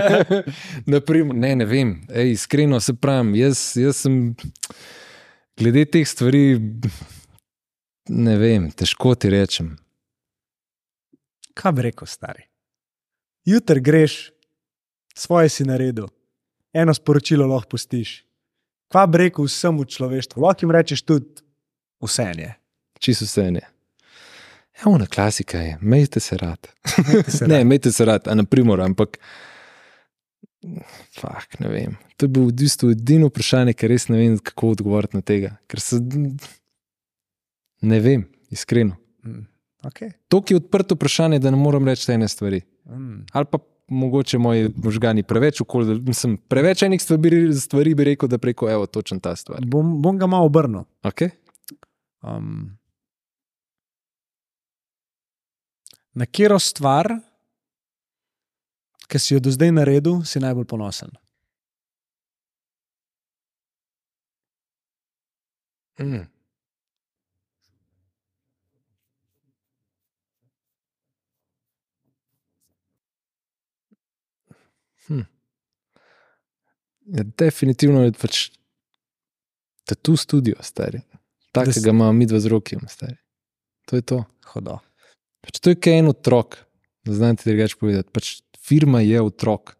Naprimer, ne, ne vem. Ej, iskreno se pravim, jaz, jaz sem. Glede teh stvari, ne vem, težko ti rečem. Kaj bi rekel, stari? Jutr greš, svoje si naredil, eno sporočilo lahko pustiš. Kaj bi rekel vsemu človeštvu? Lahko jim rečeš tudi vse en je. Čisto vse ne. Ja, ona klasika je, mejte se rad. Se Ne, imejte se rad, a na primer, ampak. Fak, ne vem. To je bilo v bistvu edino vprašanje, ker res ne vem, kako odgovoriti na tega. Ker se. Ne vem, iskreno. Mm, okay. To je odprto vprašanje, da ne morem reči ene stvari. mm. Ali pa mogoče moji možgani preveč okolje, mislim, preveč enih stvari, stvari bi rekel, da preko, evo, točen ta stvar. bom, bom ga malo obrnil. Okay? Um, na katero stvar, ki si jo do zdaj naredil, si najbolj ponosen? Mm. Hm. Ja, definitivno je pač tu studio, stari. Da Tako s- ga imamo mi dva z rokijem, stari. To je to. Hodo. Pač to je kaj en otrok, ne znam ti drugače povedati. Pač firma je otrok.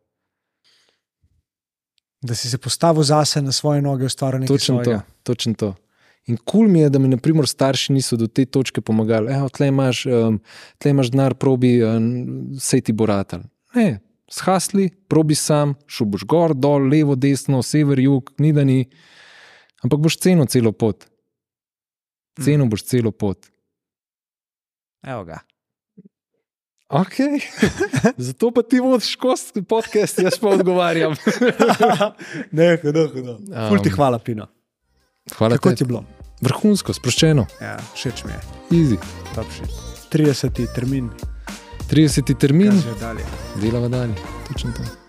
Da si se postavil zase na svoje noge, ustvaril nekaj Točno to, svojega. točno to. In kul cool mi je, da mi naprimer, starši niso do te točke pomagali. Evo, tle imaš, um, tle imaš denar, probi, um, sej ti bo ratal. Ne, shasli, probi sam, šel boš gor, dol, levo, desno, sever, jug, ni da ni. Ampak boš ceno celo pot. Ceno Mm. boš celo pot. Evo ga. Okay. Zato pa ti vodiš kost podcast, jaz pa odgovarjam. ne, hodo, hodo. Um, Ful ti Um, hvala, Pino. Hvala Kako ti ti. je bilo? Vrhunsko, sproščeno, Ja, všeč mi je, easy. top še. 30. termin, 30. termin, dalje. delava dalje. Točno to.